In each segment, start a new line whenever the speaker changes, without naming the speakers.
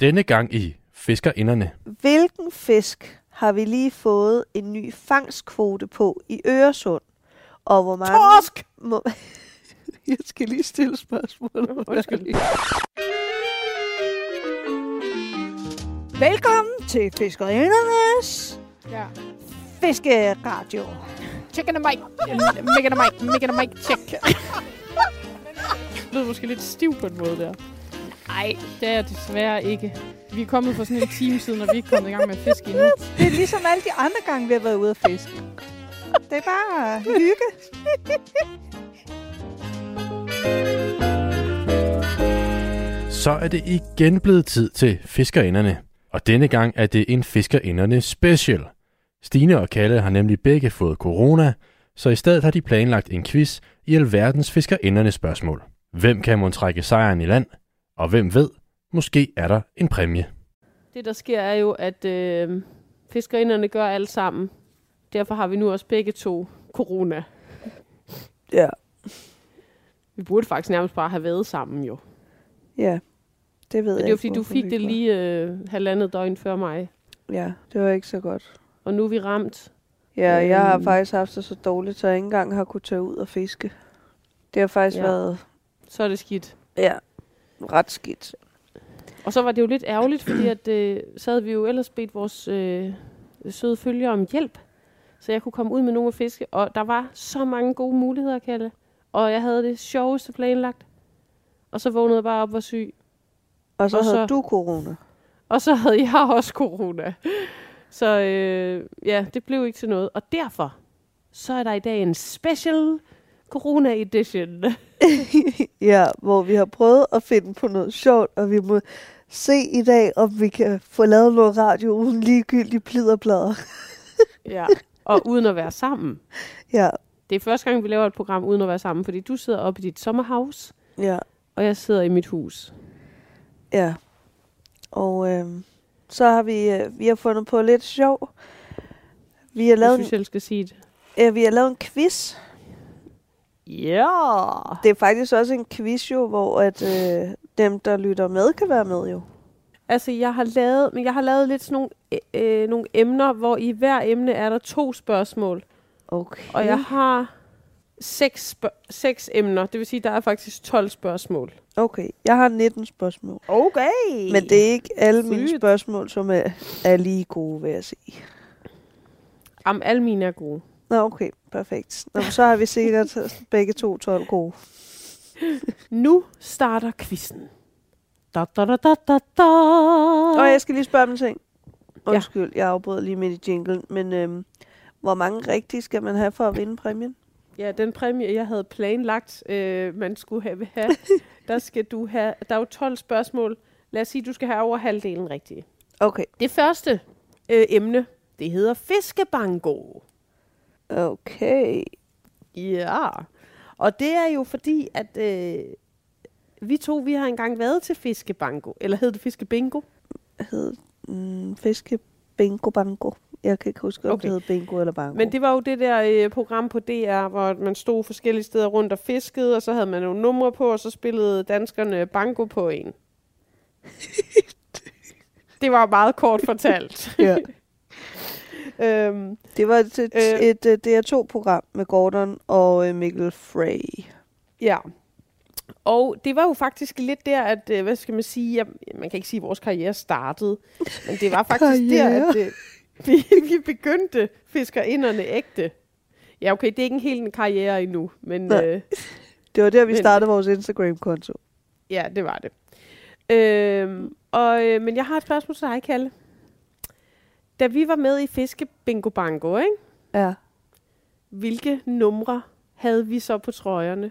Denne gang i Fiskerinderne.
Hvilken fisk har vi lige fået en ny fangstkvote på i Øresund? Og hvor mange...
Torsk!
Må...
Jeg skal lige stille spørgsmål. Undskyld.
Velkommen til Fiskerindernes
Ja.
Fiskeradio.
Chicken and Mike. Mega and Mike. Mega and Mike. Check. Det lyder måske lidt stiv på en måde der. Nej, det er jeg desværre ikke. Vi er kommet for sådan en time siden, og vi er ikke kommet i gang med at fiske endnu.
Det er ligesom alle de andre gange, vi har været ude at fiske. Det er bare hygge.
Så er det igen blevet tid til Fiskerinderne. Og denne gang er det en Fiskerinderne special. Stine og Kalle har nemlig begge fået corona, så i stedet har de planlagt en quiz i alverdens Fiskerinderne spørgsmål. Hvem kan mon trække sejren i land? Og hvem ved, måske er der en præmie.
Det, der sker, er jo, at øh, fiskerinderne gør alt sammen. Derfor har vi nu også begge to corona.
Ja.
Vi burde faktisk nærmest bare have været sammen, jo.
Ja, det ved
Men det
jeg
er jo,
ikke,
fordi du
hvorfor
fik
vi
det
ikke var.
lige øh, halvandet døgn før mig.
Ja, det var ikke så godt.
Og nu er vi ramt.
Ja, jeg har
Øhm.
faktisk haft det så dårligt, så jeg ikke engang har kunne tage ud og fiske. Det har faktisk ja.
Ja.
været
Så er det skidt.
ja, ret skidt.
Og så var det jo lidt ærgerligt, fordi at, øh, så havde vi jo ellers bedt vores øh, søde følgere om hjælp. Så jeg kunne komme ud med nogle af fiske. Og der var så mange gode muligheder, Kalle. Og jeg havde det sjoveste planlagt. Og så vågnede jeg bare op og var syg.
Og så
Og
og havde
så-
du corona.
Og så havde jeg også corona. Så øh, ja, det blev ikke til noget. Og derfor, så er der i dag en special corona edition.
ja, hvor vi har prøvet at finde på noget sjovt, og vi må se i dag, om vi kan få lavet noget radio uden ligegyldige pliderplader.
ja. Og uden at være sammen.
Ja,
Det er første gang, vi laver et program uden at være sammen, fordi du sidder oppe i dit sommerhus,
ja,
og jeg sidder i mit hus.
ja. Og øhm, så har vi, øh, vi har fundet på lidt sjov. Vi har
Jeg
lavet,
synes, jeg skal sige det.
en, øh, vi har lavet en quiz.
Ja!
Det er faktisk også en quiz jo, hvor at, øh, dem, der lytter med, kan være med jo.
Altså, jeg har lavet, men jeg har lavet lidt sådan nogle, øh, øh, nogle emner, hvor i hver emne er der to spørgsmål.
Okay.
Og jeg har seks, spørg- seks emner. Det vil sige, der er faktisk 12 spørgsmål.
Okay, jeg har 19 spørgsmål.
Okay.
Men det er ikke alle mine
Sygt.
spørgsmål, som er, er lige gode, vil jeg sige.
Am, alle mine er gode.
Nå, okay. Perfekt. Nå, men så har vi sikkert begge to 12 gode.
Nu starter quizzen. Da, da, da, da, da, da.
Og jeg skal lige spørge om en ting. Undskyld, jeg afbrød lige midt i jinglen, men øhm, hvor mange rigtige skal man have for at vinde præmien?
Ja, den præmie, jeg havde planlagt, øh, man skulle have, have, der skal du have, der er jo 12 spørgsmål. Lad os sige, du skal have over halvdelen rigtige.
Okay.
Det første øh, emne, det hedder fiskebango.
Okay.
Ja, og det er jo fordi, at øh, vi to, vi har engang været til fiskebango, eller hed det fiskebingo?
Hed mm, fiske bingo bango. Jeg kan ikke huske, om okay.
Okay.
det hed bingo eller bango.
Men det var jo det der øh, program på DR, hvor man stod forskellige steder rundt og fiskede, og så havde man nogle numre på, og så spillede danskerne banko på en. det var meget kort fortalt.
Ja.
øhm,
det var et, et,
Øh.
et, et DR2-program med Gordon og øh, Mikkel Frey.
Ja. Og det var jo faktisk lidt der, at, øh, hvad skal man sige, jeg, man kan ikke sige, at vores karriere startede, men det var faktisk der,
Karriere.
at øh, vi, vi begyndte fiskerinderne ægte. Ja, okay, det er ikke en helt en karriere endnu, men
Nej.
øh,
Det var der, vi
Men-
startede vores Instagram-konto.
ja, det var det. Øhm, og, øh, men jeg har et spørgsmål til dig, Kalle. Da vi var med i Fiske Bingo Bango, ikke?
Ja.
hvilke numre havde vi så på trøjerne?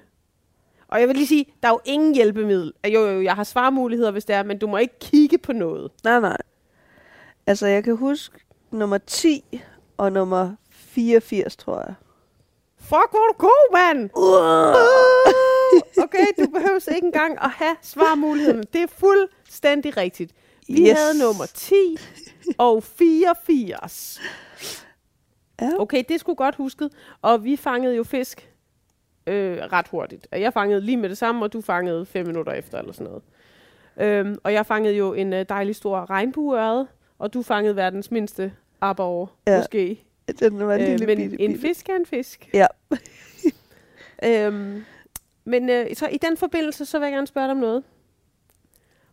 Og jeg vil lige sige, der er jo ingen hjælpemiddel. Ah, Jo, jo, jo, jeg har svarmuligheder, hvis det er, men du må ikke kigge på noget.
Nej, nej. Altså, jeg kan huske nummer 10 og nummer 84, tror jeg.
Fuck, hvor er du god, mand!
Uh!
Okay, du behøver ikke engang at have svarmuligheden. Det er fuldstændig rigtigt. Vi yes. havde nummer 10 og 84.
Ja.
Okay, det skulle godt husket. Og vi fangede jo fisk øh, ret hurtigt. Og Jeg fangede lige med det samme, og du fangede fem minutter efter eller sådan noget. Øhm, og jeg fangede jo en øh, dejlig stor regnbueørred, og du fangede verdens mindste aborre,
Ja.
ja. måske.
Den var en
Øh,
lille
men
bitte,
en
bitte.
fisk er en fisk.
Ja.
øhm, men øh, så i den forbindelse, så vil jeg gerne spørge dig om noget.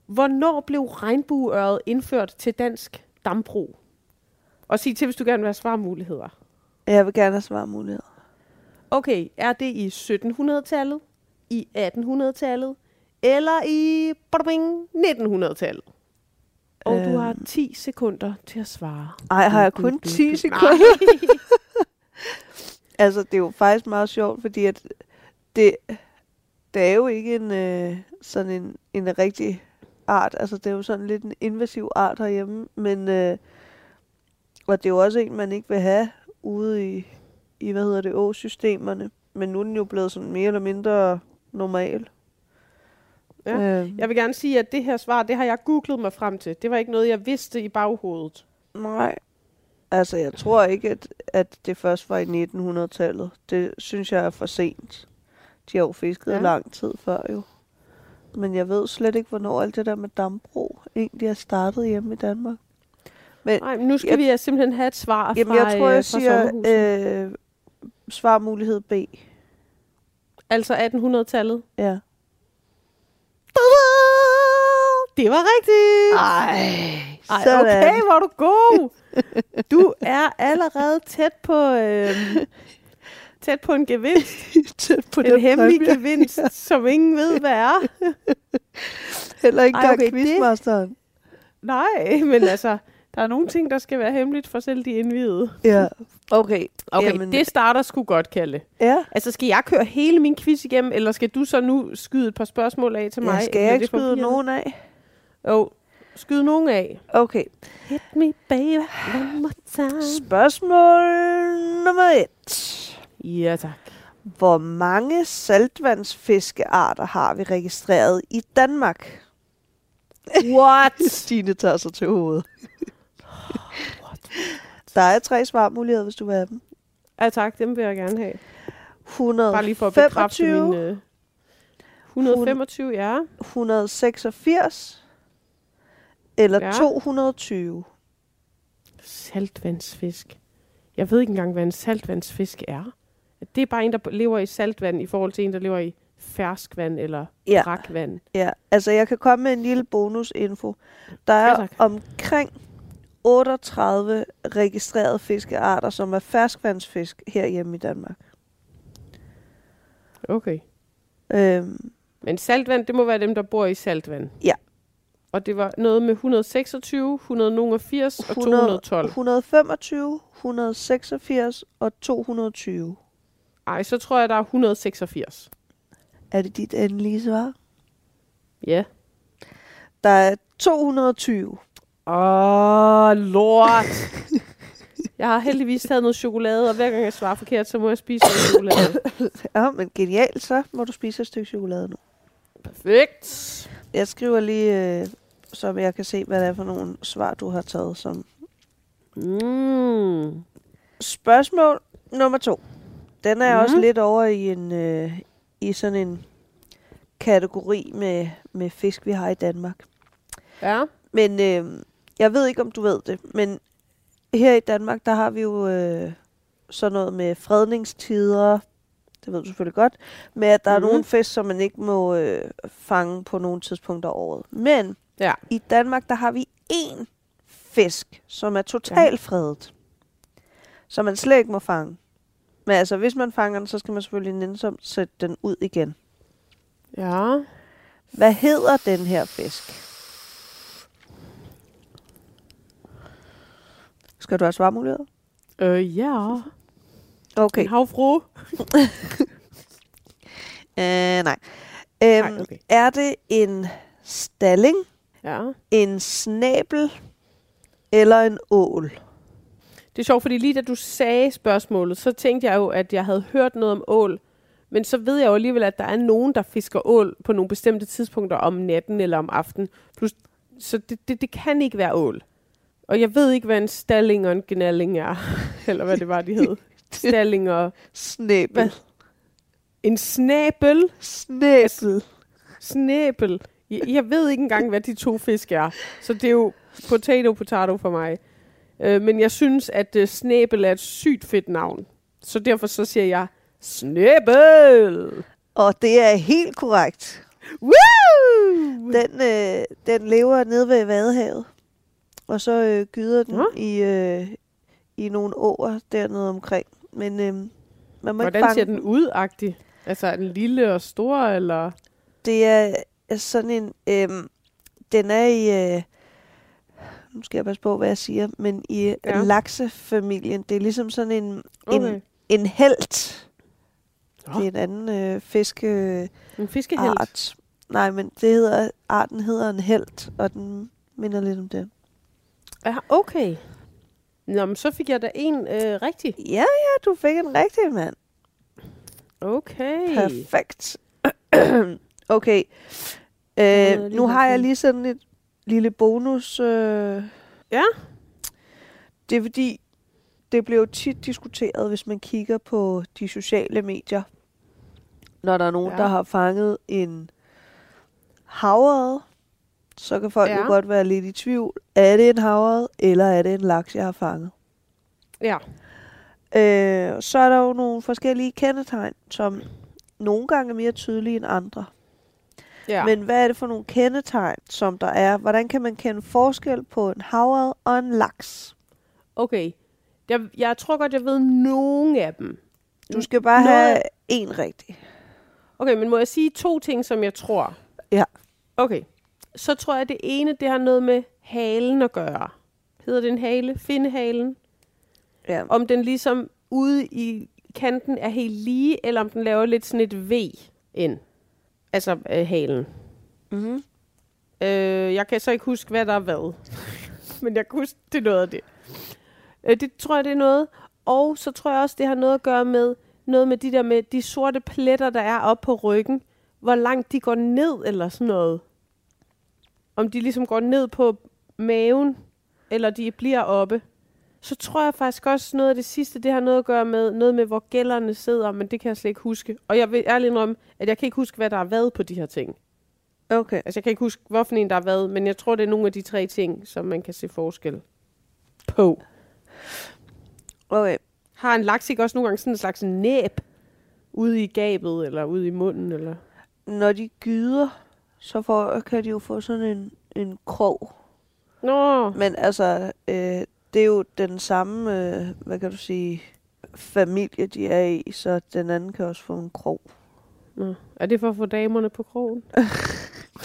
Hvornår blev regnbueøret indført til dansk dambrug? Og sig til, hvis du gerne vil have svarmuligheder.
Jeg vil gerne have svarmuligheder.
Okay, er det i 1700-tallet, i 1800-tallet, eller i badabing, 1900-tallet? Og du har 10 sekunder til at svare.
Ej, Øhm. Ah, har jeg
Du,
kun
du,
10
du.
sekunder?
Nej.
Altså, det er jo faktisk meget sjovt, fordi at det, det er jo ikke en øh, sådan en, en rigtig art. Altså, det er jo sådan lidt en invasiv art herhjemme, men øh, og det er jo også en, man ikke vil have ude i, i hvad hedder det, åsystemerne. Men nu er den jo blevet sådan mere eller mindre normal.
Ja,
Øhm,
Jeg vil gerne sige, at det her svar, det har jeg googlet mig frem til. Det var ikke noget, jeg vidste i baghovedet.
Nej. Altså, jeg tror ikke, at, at det først var i 1900-tallet. Det synes jeg er for sent. De har jo fisket ja.
Ja.
lang tid før jo. Men jeg ved slet ikke, hvornår alt det der med dambrug egentlig er startet hjemme i Danmark.
Nej, men nu skal
Jeg-
jeg, vi øh, simpelthen have et svar
Jamen,
fra,
jeg tror,
øh,
jeg
fra
siger
sommerhuset.
øh, svarmulighed B.
Altså 1800-tallet.
Ja.
Det var rigtigt!
Ej,
Ej, okay, hvor er du god. Du er allerede tæt på, øhm, tæt på en gevinst.
Tæt på
en
den
hemmelig
præmie.
gevinst, som ingen ved, hvad er.
Heller ikke
Ej,
engang
okay, det-
quizmasteren.
Nej, men altså, der er nogle ting, der skal være hemmeligt for selv de indvidede.
Ja. Okay.
Okay,
Jamen,
Jamen, det starter sgu godt, Kalle.
Ja.
Altså, skal jeg køre hele min quiz igennem, eller skal du så nu skyde et par spørgsmål af til mig?
ja, skal
Bliver
jeg ikke
det
skyde
forvirrende?
nogen af?
Jo, oh, skyde nogen af.
Okay.
Hit me, baby, one more time.
Spørgsmål nummer et.
Ja, tak.
Hvor mange saltvandsfiskearter har vi registreret i Danmark? What? Stine tager sig til hovedet. Der er tre svarmuligheder, hvis du vil have dem.
Ja, tak, dem vil jeg gerne have. Bare lige for at bekræfte
125,
min... Øh, 125, ja.
186 eller
Ja.
220.
Saltvandsfisk. Jeg ved ikke engang, hvad en saltvandsfisk er. Det er bare en, der lever i saltvand i forhold til en, der lever i ferskvand eller
Ja.
ja. brakvand.
Ja, altså jeg kan komme med en lille bonusinfo. Der
Ja,
er
tak.
omkring 38 registrerede fiskearter, som er ferskvandsfisk herhjemme i Danmark.
Okay.
Øhm,
Men saltvand, det må være dem, der bor i saltvand.
Ja.
Og det var noget med 126, 180 og 212.
125, 186 og 220.
Ej, så tror jeg, der er 186.
Er det dit endelige svar?
Ja.
Der er 220.
Åh, lort. jeg har heldigvis taget noget chokolade, og hver gang jeg svarer forkert, så må jeg spise noget chokolade.
Ja, men genialt, så må du spise et stykke chokolade nu.
Perfekt.
Jeg skriver lige, øh, så jeg kan se, hvad det er for nogle svar, du har taget. Som
Mm.
Spørgsmål nummer to. Den er mm. også
Mhm.
lidt over i en øh, i sådan en kategori med, med fisk, vi har i Danmark.
Ja.
Men øh, jeg ved ikke, om du ved det, men her i Danmark, der har vi jo øh, sådan noget med fredningstider. Det ved du selvfølgelig godt. Med at der mm-hmm.
Mhm.
er nogle fisk, som man ikke må øh, fange på nogle tidspunkter af året. Men
Ja.
i Danmark, der har vi én fisk, som er totalt fredet. Som man slet ikke må fange. Men altså, hvis man fanger den, så skal man selvfølgelig nænsomt sætte den ud igen.
Ja.
Hvad hedder den her fisk? Skal du have svarmuligheder?
Øh, ja. Okay.
Okay.
En havfru.
Øh, nej. Øhm,
Nej, okay.
Er det en stalling,
Ja.
en snabel eller en ål?
Det er sjovt, fordi lige da du sagde spørgsmålet, så tænkte jeg jo, at jeg havde hørt noget om ål. Men så ved jeg jo alligevel, at der er nogen, der fisker ål på nogle bestemte tidspunkter om natten eller om aftenen. Plus, så det, det, det kan ikke være ål. Og jeg ved ikke, hvad en stalling og en gnalling er. Eller hvad det var, de hed. Stalling og...
Snabel.
En snabel.
Snabel.
Snæbel. Jeg, jeg ved ikke engang, hvad de to fisk er. Så det er jo potato potato for mig. Øh, men jeg synes, at øh, snæbel er et sygt fedt navn. Så derfor så siger jeg, snæbel!
Og det er helt korrekt.
Woo!
Den, øh, den lever nede ved Vadehavet. Og så øh, gyder den
Nå.
i, øh, i nogle åer dernede omkring. Men øh, man må ikke
Hvordan
fange
ser den ud, agtig? Altså, er den lille og stor, eller?
Det er er sådan en... Øhm, den er i... Øh, nu skal jeg passe på, hvad jeg siger. Men i
Ja.
ja. laksefamilien. Det er ligesom sådan en, okay.
Okay.
en, en helt.
Nå.
Det er en anden øh, fiskeart.
En fiskehelt.
Ah, Nej, men det hedder, arten hedder en helt, og den minder lidt om det.
Ja, okay. Nå, men så fik jeg da en øh, rigtig.
Ja, ja, du fik en rigtig mand.
Okay.
Perfekt. okay. Øh,
lige
nu har
haft
jeg
en.
lige sådan et lille bonus. Øh.
Ja.
Det er fordi, det bliver jo tit diskuteret, hvis man kigger på de sociale medier. Når der er nogen,
Ja.
ja. der har fanget en havred, så kan folk ja.
Ja.
jo godt være lidt i tvivl. Er det en havred, eller er det en laks, jeg har fanget?
Ja.
Øh, så er der jo nogle forskellige kendetegn, som nogle gange er mere tydelige end andre.
Ja.
Ja. Men hvad er det for nogle kendetegn, som der er? Hvordan kan man kende forskel på en havred og en laks?
Okay. Jeg, jeg tror godt, jeg ved nogen af dem.
Du skal bare
Noget-
have en rigtig.
Okay, men må jeg sige to ting, som jeg tror?
Ja.
Okay. Så tror jeg, at det ene, det har noget med halen at gøre. Hedder det en hale? Findehalen?
Ja.
Om den ligesom ude i kanten er helt lige, eller om den laver lidt sådan et V ind. Altså øh, halen.
Mm-hmm.
Øh, jeg kan så ikke huske, hvad der er hvad. Men jeg kan huske, det er noget af det. Øh, det tror jeg, det er noget. Og så tror jeg også, det har noget at gøre med noget med de der med de sorte pletter, der er oppe på ryggen. Hvor langt de går ned eller sådan noget. Om de ligesom går ned på maven, eller de bliver oppe. Så tror jeg faktisk også noget af det sidste, det har noget at gøre med, noget med hvor gælderne sidder, men det kan jeg slet ikke huske. Og jeg vil ærligt indrømme, at jeg kan ikke huske, hvad der er hvad på de her ting.
Okay.
Altså, jeg kan ikke huske, hvorfor en der har været, men jeg tror, det er nogle af de tre ting, som man kan se forskel på.
okay.
Har en laks ikke også nogle gange sådan en slags næb ude i gabet, eller ude i munden, eller...
Når de gyder, så får, kan de jo få sådan en, en krog.
Nå,
Men altså, øh, det er jo den samme, øh, hvad kan du sige, familie, de er i, så den anden kan også få en krog.
Nå. er det for at få damerne på krogen?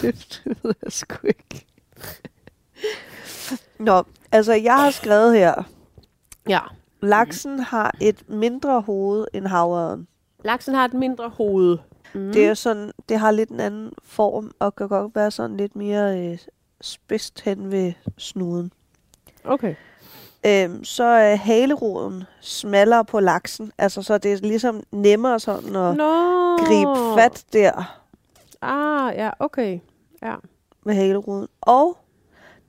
det det ved jeg sgu ikke. Nå, altså jeg har skrevet her,
Ja.
laksen har et mindre hoved end havørnen.
Laksen har et mindre hoved.
Mm. Det er sådan, det har lidt en anden form, og kan godt være sådan lidt mere øh, spidst hen ved snuden.
Mm. Okay.
Øhm, så er haleroden smallere på laksen, altså så det er ligesom nemmere sådan at
Nå.
gribe fat der
Ah, ja, okay.
med haleroden. Og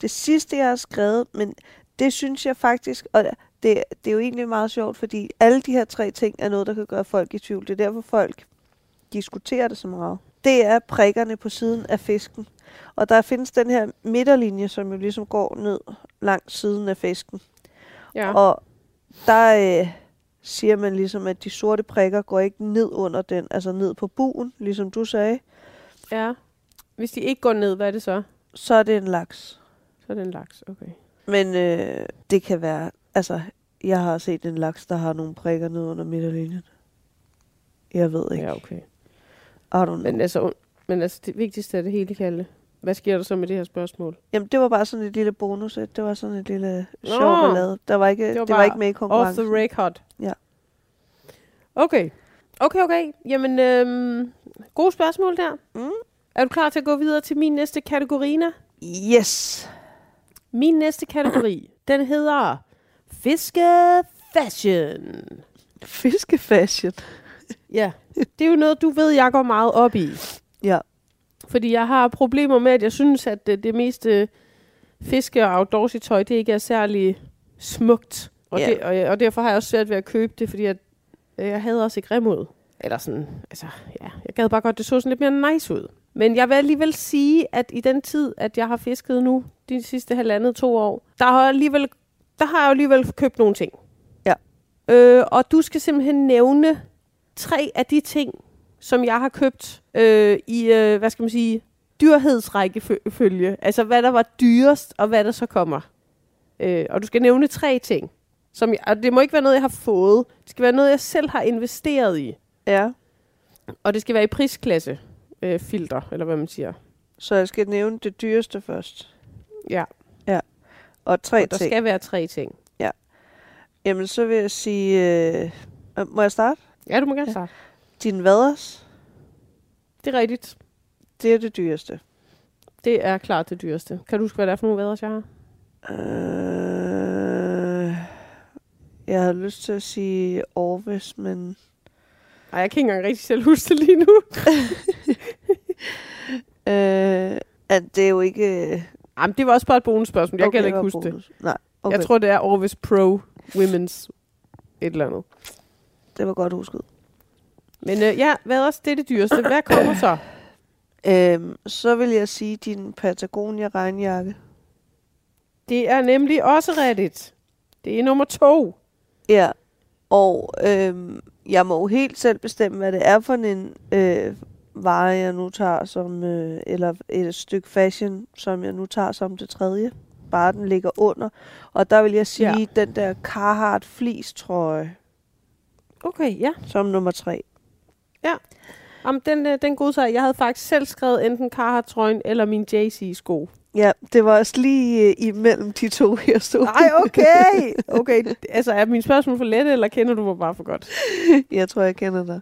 det sidste, jeg har skrevet, men det synes jeg faktisk, og det, det er jo egentlig meget sjovt, fordi alle de her tre ting er noget, der kan gøre folk i tvivl. Det er derfor, folk diskuterer det så meget. Det er prikkerne på siden af fisken. Og der findes den her midterlinje, som jo ligesom går ned langs siden af fisken.
Ja.
Ja. Og der øh, siger man ligesom, at de sorte prikker går ikke ned under den, altså ned på buen, ligesom du sagde.
ja. Hvis de ikke går ned, hvad er det så?
Så er det en laks.
Så er det en laks, okay.
Men øh, det kan være... Altså, jeg har set en laks, der har nogle prikker ned under midterlinjen. Jeg ved ikke.
Ja, okay.
I don't know.
Men altså, un- men altså det vigtigste af det hele, Kalle. Hvad sker der så med det her spørgsmål?
Jamen, det var bare sådan et lille bonus. ikke? Det var sådan et lille
Nå.
sjov ballade. Der var ikke,
Det
det
var
var, det var
bare
ikke med i
Off the
konkurrencen.
record.
Ja.
Okay. Okay, okay. Jamen, øhm, gode spørgsmål der.
Mm.
Er du klar til at gå videre til min næste kategori, Nina?
Yes!
Min næste kategori, den hedder Fiske Fashion.
Fiskefashion.
Ja, det er jo noget, du ved, jeg går meget op i.
Ja.
Fordi jeg har problemer med, at jeg synes, at øh, det, det meste fiske- og outdoors-tøj, det ikke er særlig smukt. Og,
Ja.
det, og, jeg- og derfor har jeg også svært ved at købe det, fordi jeg, jeg havde også ikke grimod. Eller sådan, altså, ja, jeg gad bare godt, det så sådan lidt mere nice ud. Men jeg vil alligevel sige, at i den tid, at jeg har fisket nu, de sidste halvandet to år, der har jeg alligevel, der har jeg alligevel købt nogle ting.
Ja.
Øh, og du skal simpelthen nævne tre af de ting, som jeg har købt øh, i, øh, hvad skal man sige, dyrhedsrækkefølge. Altså, hvad der var dyrest, og hvad der så kommer. Øh, og du skal nævne tre ting. Som jeg, og det må ikke være noget, jeg har fået. Det skal være noget, jeg selv har investeret i.
Ja.
Og det skal være i prisklasse øh, filter, eller hvad man siger.
Så jeg skal nævne det dyreste først.
Ja.
Ja. Og tre
Og der
ting.
skal være tre ting.
Jamen, så vil jeg sige... Øh... øh, Må jeg starte?
Ja, du må gerne starte.
Din vaders,
Det er rigtigt.
det er det dyreste.
Det er klart det dyreste. Kan du huske, hvad det er for nogle vaders, jeg har?
Øh... Jeg havde lyst til at sige Orvis, men...
Ej, jeg kan ikke engang rigtig selv huske det lige nu.
Øh... At det er jo ikke... øh,
Jamen, det var også bare et bonusspørgsmål. Jeg okay, kan
det
heller
var
ikke huske det.
bonus. Nej,
Okay.
okay.
Jeg tror, det er Orvis Pro Women's et eller andet.
det var godt husket.
Men øh, ja, vaders, det er det dyreste. Hvad kommer så?
Øhm, så vil jeg sige din Patagonia regnjakke.
Det er nemlig også rigtigt. Det er nummer to.
Ja, og øhm, jeg må jo helt selv bestemme, hvad det er for en øh, vare, jeg nu tager som, øh, eller et stykke fashion, som jeg nu tager som det tredje. Bare den ligger under. Og der vil jeg sige, ja. den der Carhartt fleecetrøje
Okay, ja.
som nummer tre.
Jamen, den, øh, den gode sag. Jeg havde faktisk selv skrevet enten Carhartt-trøjen eller min JC-sko.
Ja, det var også lige øh, imellem de to, jeg stod.
Nej, okay. Okay, altså er mine spørgsmål for lette, eller kender du mig bare for godt?
Jeg tror, jeg kender dig.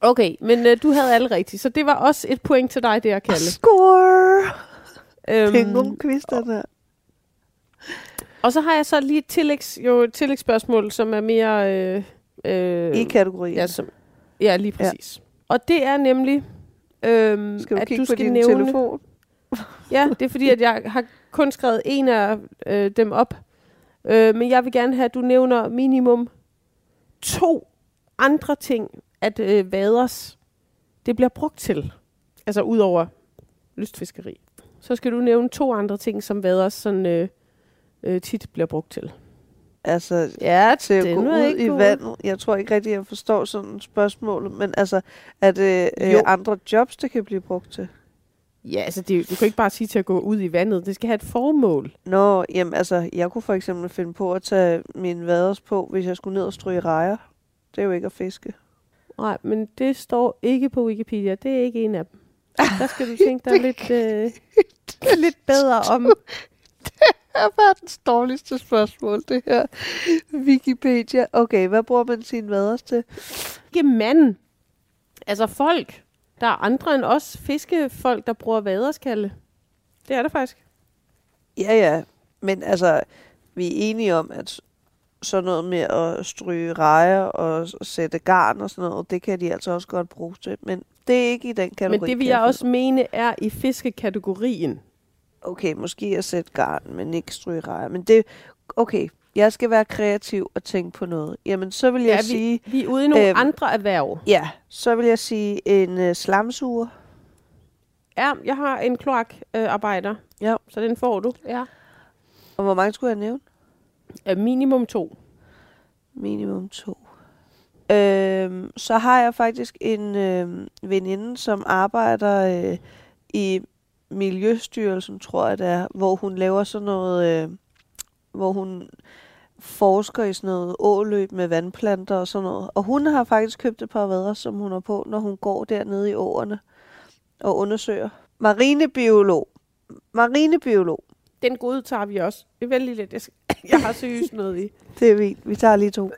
Okay, men øh, du havde alle rigtigt, så det var også et point til dig der, Kalle.
Score! Det er en
Øhm,
god quiz, den her.
og så har jeg så lige et, tillægs, jo, et tillægsspørgsmål, som er mere... Øh, øh,
I kategorien.
ja, som, ja, lige præcis. Ja. Og det er nemlig, øhm,
Skal du
at
kigge
du
på
skal
din
nævne...
telefon?
Ja, det er fordi, at jeg har kun skrevet en af øh, dem op. Øh, men jeg vil gerne have, at du nævner minimum to andre ting, at øh, vaders det bliver brugt til. Altså udover lystfiskeri. Så skal du nævne to andre ting, som vaders sådan, øh, øh, tit bliver brugt til.
Altså,
Ja,
til at gå
den var
ud
ikke
i
god.
vandet. Jeg tror ikke rigtig, jeg forstår sådan et spørgsmål, men altså, er det øh,
Jo.
andre jobs, det kan blive brugt til?
Ja, altså det, du kan ikke bare sige til at gå ud i vandet. Det skal have et formål.
Nå, jamen altså, jeg kunne for eksempel finde på at tage min vaders på, hvis jeg skulle ned og stryge rejer. Det er jo ikke at fiske.
Nej, men det står ikke på Wikipedia. Det er ikke en af dem. Der skal du tænke dig lidt, øh, lidt bedre om,
Det er verdens dårligste spørgsmål, det her. Wikipedia. Okay, hvad bruger man sin vaders til?
ikke mand. Altså folk. Der er andre end os fiskefolk, der bruger vaderskalle. Det er der faktisk.
Ja, ja. Men altså, vi er enige om, at sådan noget med at stryge rejer og s- sætte garn og sådan noget, det kan de altså også godt bruge til. Men det er ikke i den kategori.
Men det vil
kan
jeg
finde.
også mene er i fiskekategorien.
Okay, måske at sætte garn, men ikke stryge rejer. Men det... Okay, jeg skal være kreativ og tænke på noget. Jamen, så vil jeg
Ja,
sige...
Vi er ude i nogle
Øhm.
øhm. andre erhverv.
Ja, så vil jeg sige en øh, slamsuger.
Ja, jeg har en kloakarbejder, øh, arbejder.
Ja.
så den får du. Ja.
Og hvor mange skulle jeg nævne?
Øh, minimum to.
Minimum to. Øhm, så har jeg faktisk en øhm, veninde, som arbejder øh, i Miljøstyrelsen, tror jeg det er, hvor hun laver sådan noget, øh, hvor hun forsker i sådan noget åløb med vandplanter og sådan noget. Og hun har faktisk købt et par vader, som hun har på, når hun går dernede i åerne og undersøger. Marinebiolog. Marinebiolog.
Den gode tager vi også. Det er vældig lidt. Jeg, skal, jeg har seriøst noget i.
Det er vi. Vi tager lige to.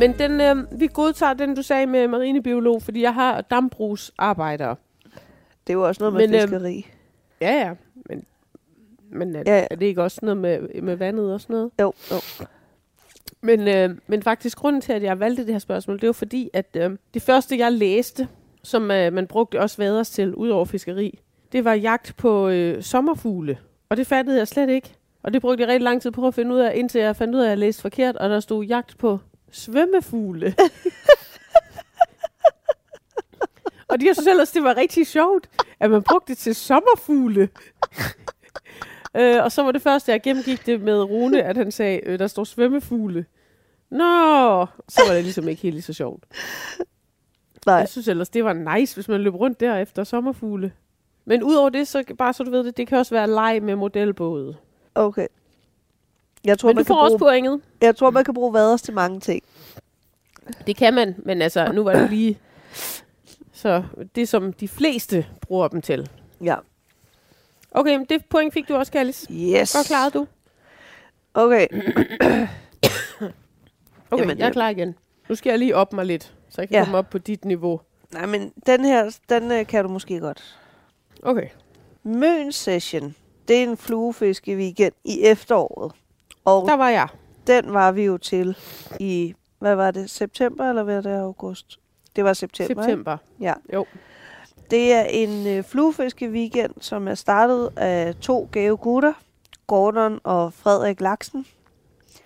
Men den, øh, vi godtager den, du sagde med marinebiolog, fordi jeg har dambrugsarbejdere.
Det er jo også noget med
Men, øhm,
fiskeri.
Ja, ja. Men, men er,
Ja,
ja,
ja.
ja. er det ikke også noget med, med vandet og sådan noget?
Jo, jo.
Men, øh, men faktisk, grunden til, at jeg valgte det her spørgsmål, det var fordi, at øh, det første, jeg læste, som øh, man brugte også vaders til, ud over fiskeri, det var jagt på øh, sommerfugle. Og det fattede jeg slet ikke. Og det brugte jeg rigtig lang tid på at finde ud af, indtil jeg fandt ud af, at jeg læste forkert, og der stod jagt på svømmefugle. Og de, jeg synes ellers, det var rigtig sjovt, at man brugte det til sommerfugle. øh, og så var det første, jeg gennemgik det med Rune, at han sagde, øh, der står svømmefugle. Nå, så var det ligesom ikke helt lige så sjovt.
Nej,
Jeg synes ellers, det var nice, hvis man løb rundt der efter sommerfugle. Men udover det, så bare så du ved det, det kan også være leg med modelbåde.
okay. Jeg tror,
Men
man
du
kan,
får også
bruge,
pointet.
jeg tror, man kan bruge vaders til mange ting.
Det kan man, men altså, nu var det lige... Så det, som de fleste bruger dem til.
Ja.
Okay, men det point fik du også, Kallis.
Yes.
Godt klaret du.
Okay.
Okay,
Jamen,
Jamen, jeg er
øh.
klar igen. Nu skal jeg lige op mig lidt, så jeg kan
Ja.
ja. komme op på dit niveau.
Nej, men den her, den øh, kan du måske godt.
Okay.
Møn Session, det er en fluefiskeweekend i efteråret. Og
Der var jeg.
den var vi jo til i, hvad var det, september eller hvad er det, august? Det var september, ikke?
September.
Det er en øh, fluefiskeweekend, som er startet af to gave gutter, Gordon og Frederik Laksen.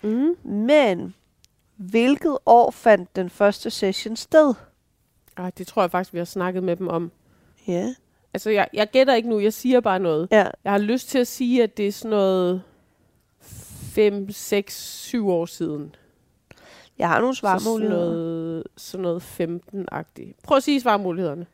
Mhm.
Mm.
Men hvilket år fandt den første session sted?
Ej, det tror jeg faktisk, vi har snakket med dem om.
Ja.
Altså, jeg, jeg gætter ikke nu. Jeg siger bare noget.
Ja,
Jeg har lyst til at sige, at det er sådan noget 5, 6, 7 år siden.
jeg har nogle
Så sådan
svarmuligheder.
noget, sådan noget 15-agtigt. Prøv at sige svarmulighederne.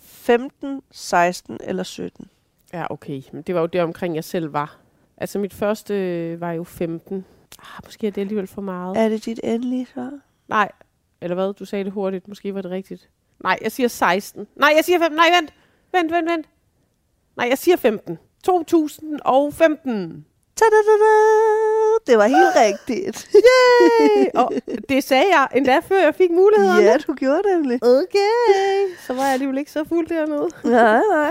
15, 16 eller 17.
Ja, okay. Men det var jo det omkring, jeg selv var. Altså, mit første øh, var jo 15. Ah, måske er det alligevel for meget.
Er det dit endelige svar?
Nej. Eller hvad? Du sagde det hurtigt. Måske var det rigtigt. Nej, jeg siger 16. Nej, jeg siger 15. Nej, vent. Vent, vent, vent. Nej, jeg siger 15. 2015.
Ta-da-da-da! Det var helt rigtigt.
Yay! Og det sagde jeg endda, før jeg fik muligheden.
ja, du gjorde det nemlig.
Okay. Så var jeg alligevel ikke så fuld dernede.
Nej, nej.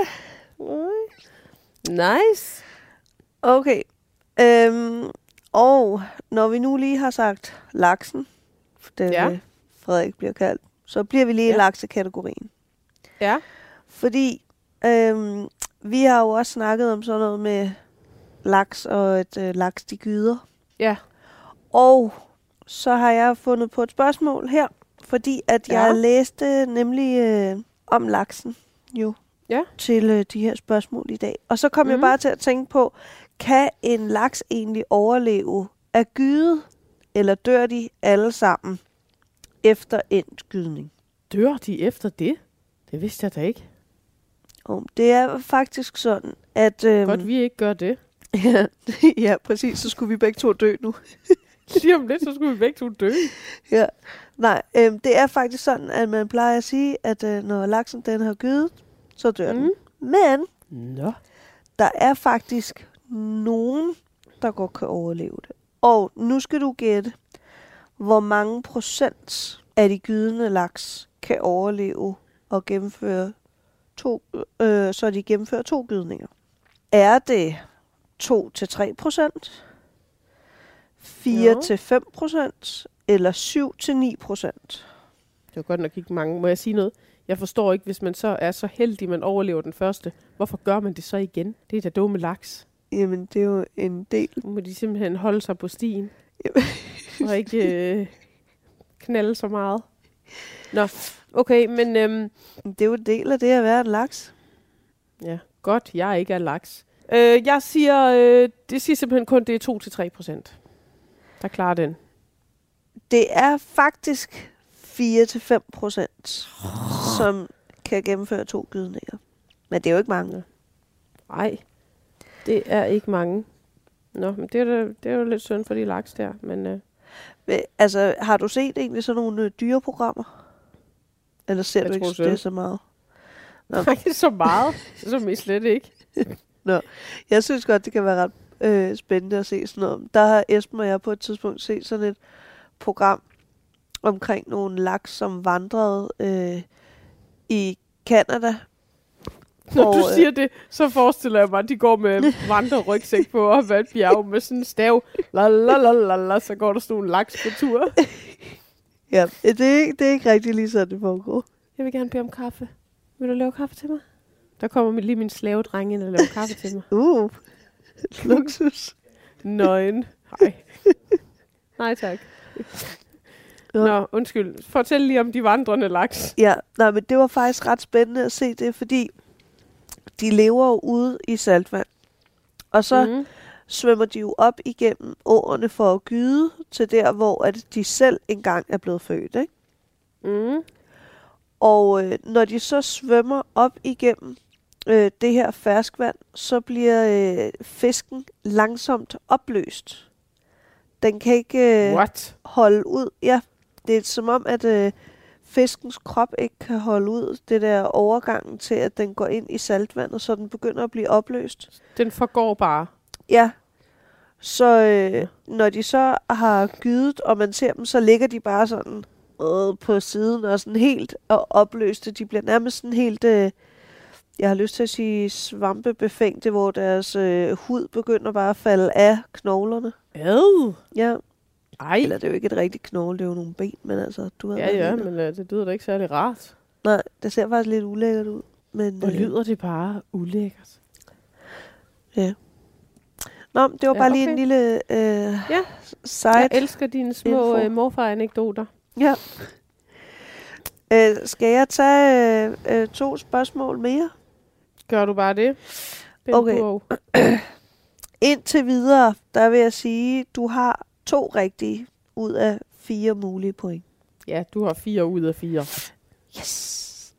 Oj. Nice.
Okay. Øhm, og når vi nu lige har sagt laksen, for den
Ja.
ja. Frederik bliver kaldt, så bliver vi lige ja. i
Ja.
laksekategorien.
Ja.
Fordi øhm, vi har jo også snakket om sådan noget med laks og et øh, laks, de gyder.
Ja.
Og så har jeg fundet på et spørgsmål her, fordi at
Ja.
jeg læste nemlig øh, om laksen jo
Ja.
til øh, de her spørgsmål i dag. Og så kom mm. jeg
Mhm.
bare til at tænke på, kan en laks egentlig overleve at gyde, eller dør de alle sammen efter endt gydning?
Dør de efter det? Det vidste jeg da ikke.
Og det er faktisk sådan, at... Øhm,
Godt, vi ikke gør det.
Ja, ja, præcis. Så skulle vi begge to dø nu.
Lige om lidt, så skulle vi begge to dø.
Nej, øhm, det er faktisk sådan, at man plejer at sige, at øh, når laksen den har gydet, så dør mm. den. Men
Nå.
der er faktisk nogen, der godt kan overleve det. Og nu skal du gætte, hvor mange procent af de gydende laks kan overleve og gennemføre to, øh, så de gennemfører to gydninger. Er det 2-3 procent, 4-5 procent eller 7-9 procent?
Det var godt nok ikke mange. Må jeg sige noget? Jeg forstår ikke, hvis man så er så heldig, man overlever den første. Hvorfor gør man det så igen? Det er da dumme laks.
Jamen, det er jo en del.
Nu må de simpelthen holde sig på stien.
Jamen.
og ikke øh, knalde så meget. Nå, okay, men øhm,
Det er jo en del af det at være en laks.
ja, godt, jeg ikke er laks. Øh, jeg siger, øh, det siger simpelthen kun, det er 2-3 procent. Der klarer den.
Det er faktisk 4-5 procent, som kan gennemføre to gydninger. Men det er jo ikke mange.
Nej, det er ikke mange. Nå, men det er, da- det er jo lidt synd for de laks der, men... Øh,
Men, altså, har du set egentlig sådan nogle øh, dyreprogrammer? Eller ser
Jeg
du
tror
ikke
selv.
det så meget? Nå.
Nej, ikke så meget, som I slet ikke.
Jeg synes godt, det kan være ret øh, spændende at se sådan noget. Der har Esben og jeg på et tidspunkt set sådan et program omkring nogle laks, som vandrede øh, i Kanada.
Når
Og,
du
øh,
siger det, så forestiller jeg mig, at de går med vandrerygsæk på op ad et bjerg med sådan en stav. La, la, la, la, la, så går der sådan nogle laks på tur.
Ja, det er, ikke, det er ikke rigtig lige sådan, det foregår.
Jeg vil gerne bede om kaffe. Vil du lave kaffe til mig? Der kommer min- lige min slavedreng ind og laver kaffe til mig.
Uh, luksus.
Nøgen. Nej. Nej tak. Nå, undskyld. Fortæl lige om de vandrende laks.
Ja, nej, men det var faktisk ret spændende at se det, fordi de lever jo ude i saltvand. Og så mm.
Mm.
svømmer de jo op igennem åerne for at gyde til der, hvor at de selv engang er blevet født. Ikke?
Mm.
Og øh, når de så svømmer op igennem øh, det her ferskvand, så bliver øh, fisken langsomt opløst. Den kan ikke øh,
What?
holde ud. Ja, det er som om, at øh, fiskens krop ikke kan holde ud det der overgangen til, at den går ind i saltvandet, så den begynder at blive opløst.
Den forgår bare.
Ja. Så øh, når de så har gydet, og man ser dem, så ligger de bare sådan øh, på siden og sådan helt og opløste. De bliver nærmest sådan helt, øh, jeg har lyst til at sige svampebefængte, hvor deres øh, hud begynder bare at falde af knoglerne.
Ad.
Ja,
Ej.
eller det er jo ikke et rigtigt knogle, det er jo nogle ben, men altså, du ved,
Ja,
hvad jeg
ja,
mener.
men uh, det lyder da ikke særlig rart.
Nej, det ser faktisk lidt ulækkert ud. Men,
Og
øh,
lyder det bare ulækkert.
Nå, men det var
Ja,
bare lige en
okay.
lille øh,
Ja. Jeg
side.
elsker dine små
Info.
uh, morfar-anekdoter.
Ja. Øh, skal jeg tage øh, øh, to spørgsmål mere?
Gør du bare det? Ben
Okay.
Burg.
Indtil videre, der vil jeg sige, du har to rigtige ud af fire mulige point.
Ja, du har fire ud af fire.
Yes!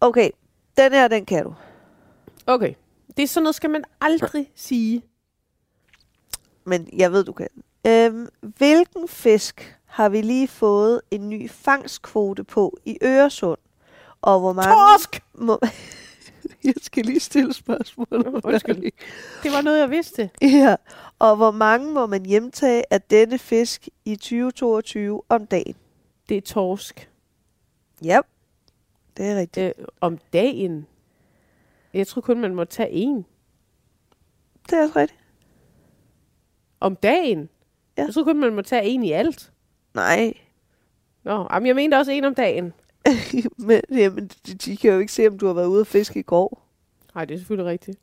Okay, den her, den kan du.
Okay. Det er sådan noget, skal man aldrig sige.
Men jeg ved, du kan. Øhm, hvilken fisk har vi lige fået en ny fangstkvote på i Øresund? Og hvor mange...
Torsk!
Må...
Jeg skal lige stille spørgsmålet.
Undskyld. Det var noget, jeg vidste.
Ja, og hvor mange må man hjemtage af denne fisk i 2022 om dagen?
Det er torsk.
Ja, det er rigtigt.
Øh, om dagen. Jeg tror kun, man må tage en.
Det er også rigtigt.
Om dagen?
Ja.
Jeg tror kun, man må tage en i alt.
Nej,
Nå, jamen, jeg mente også en om dagen.
men jamen, de, de kan jo ikke se, om du har været ude at fiske i går.
Nej, det er selvfølgelig rigtigt.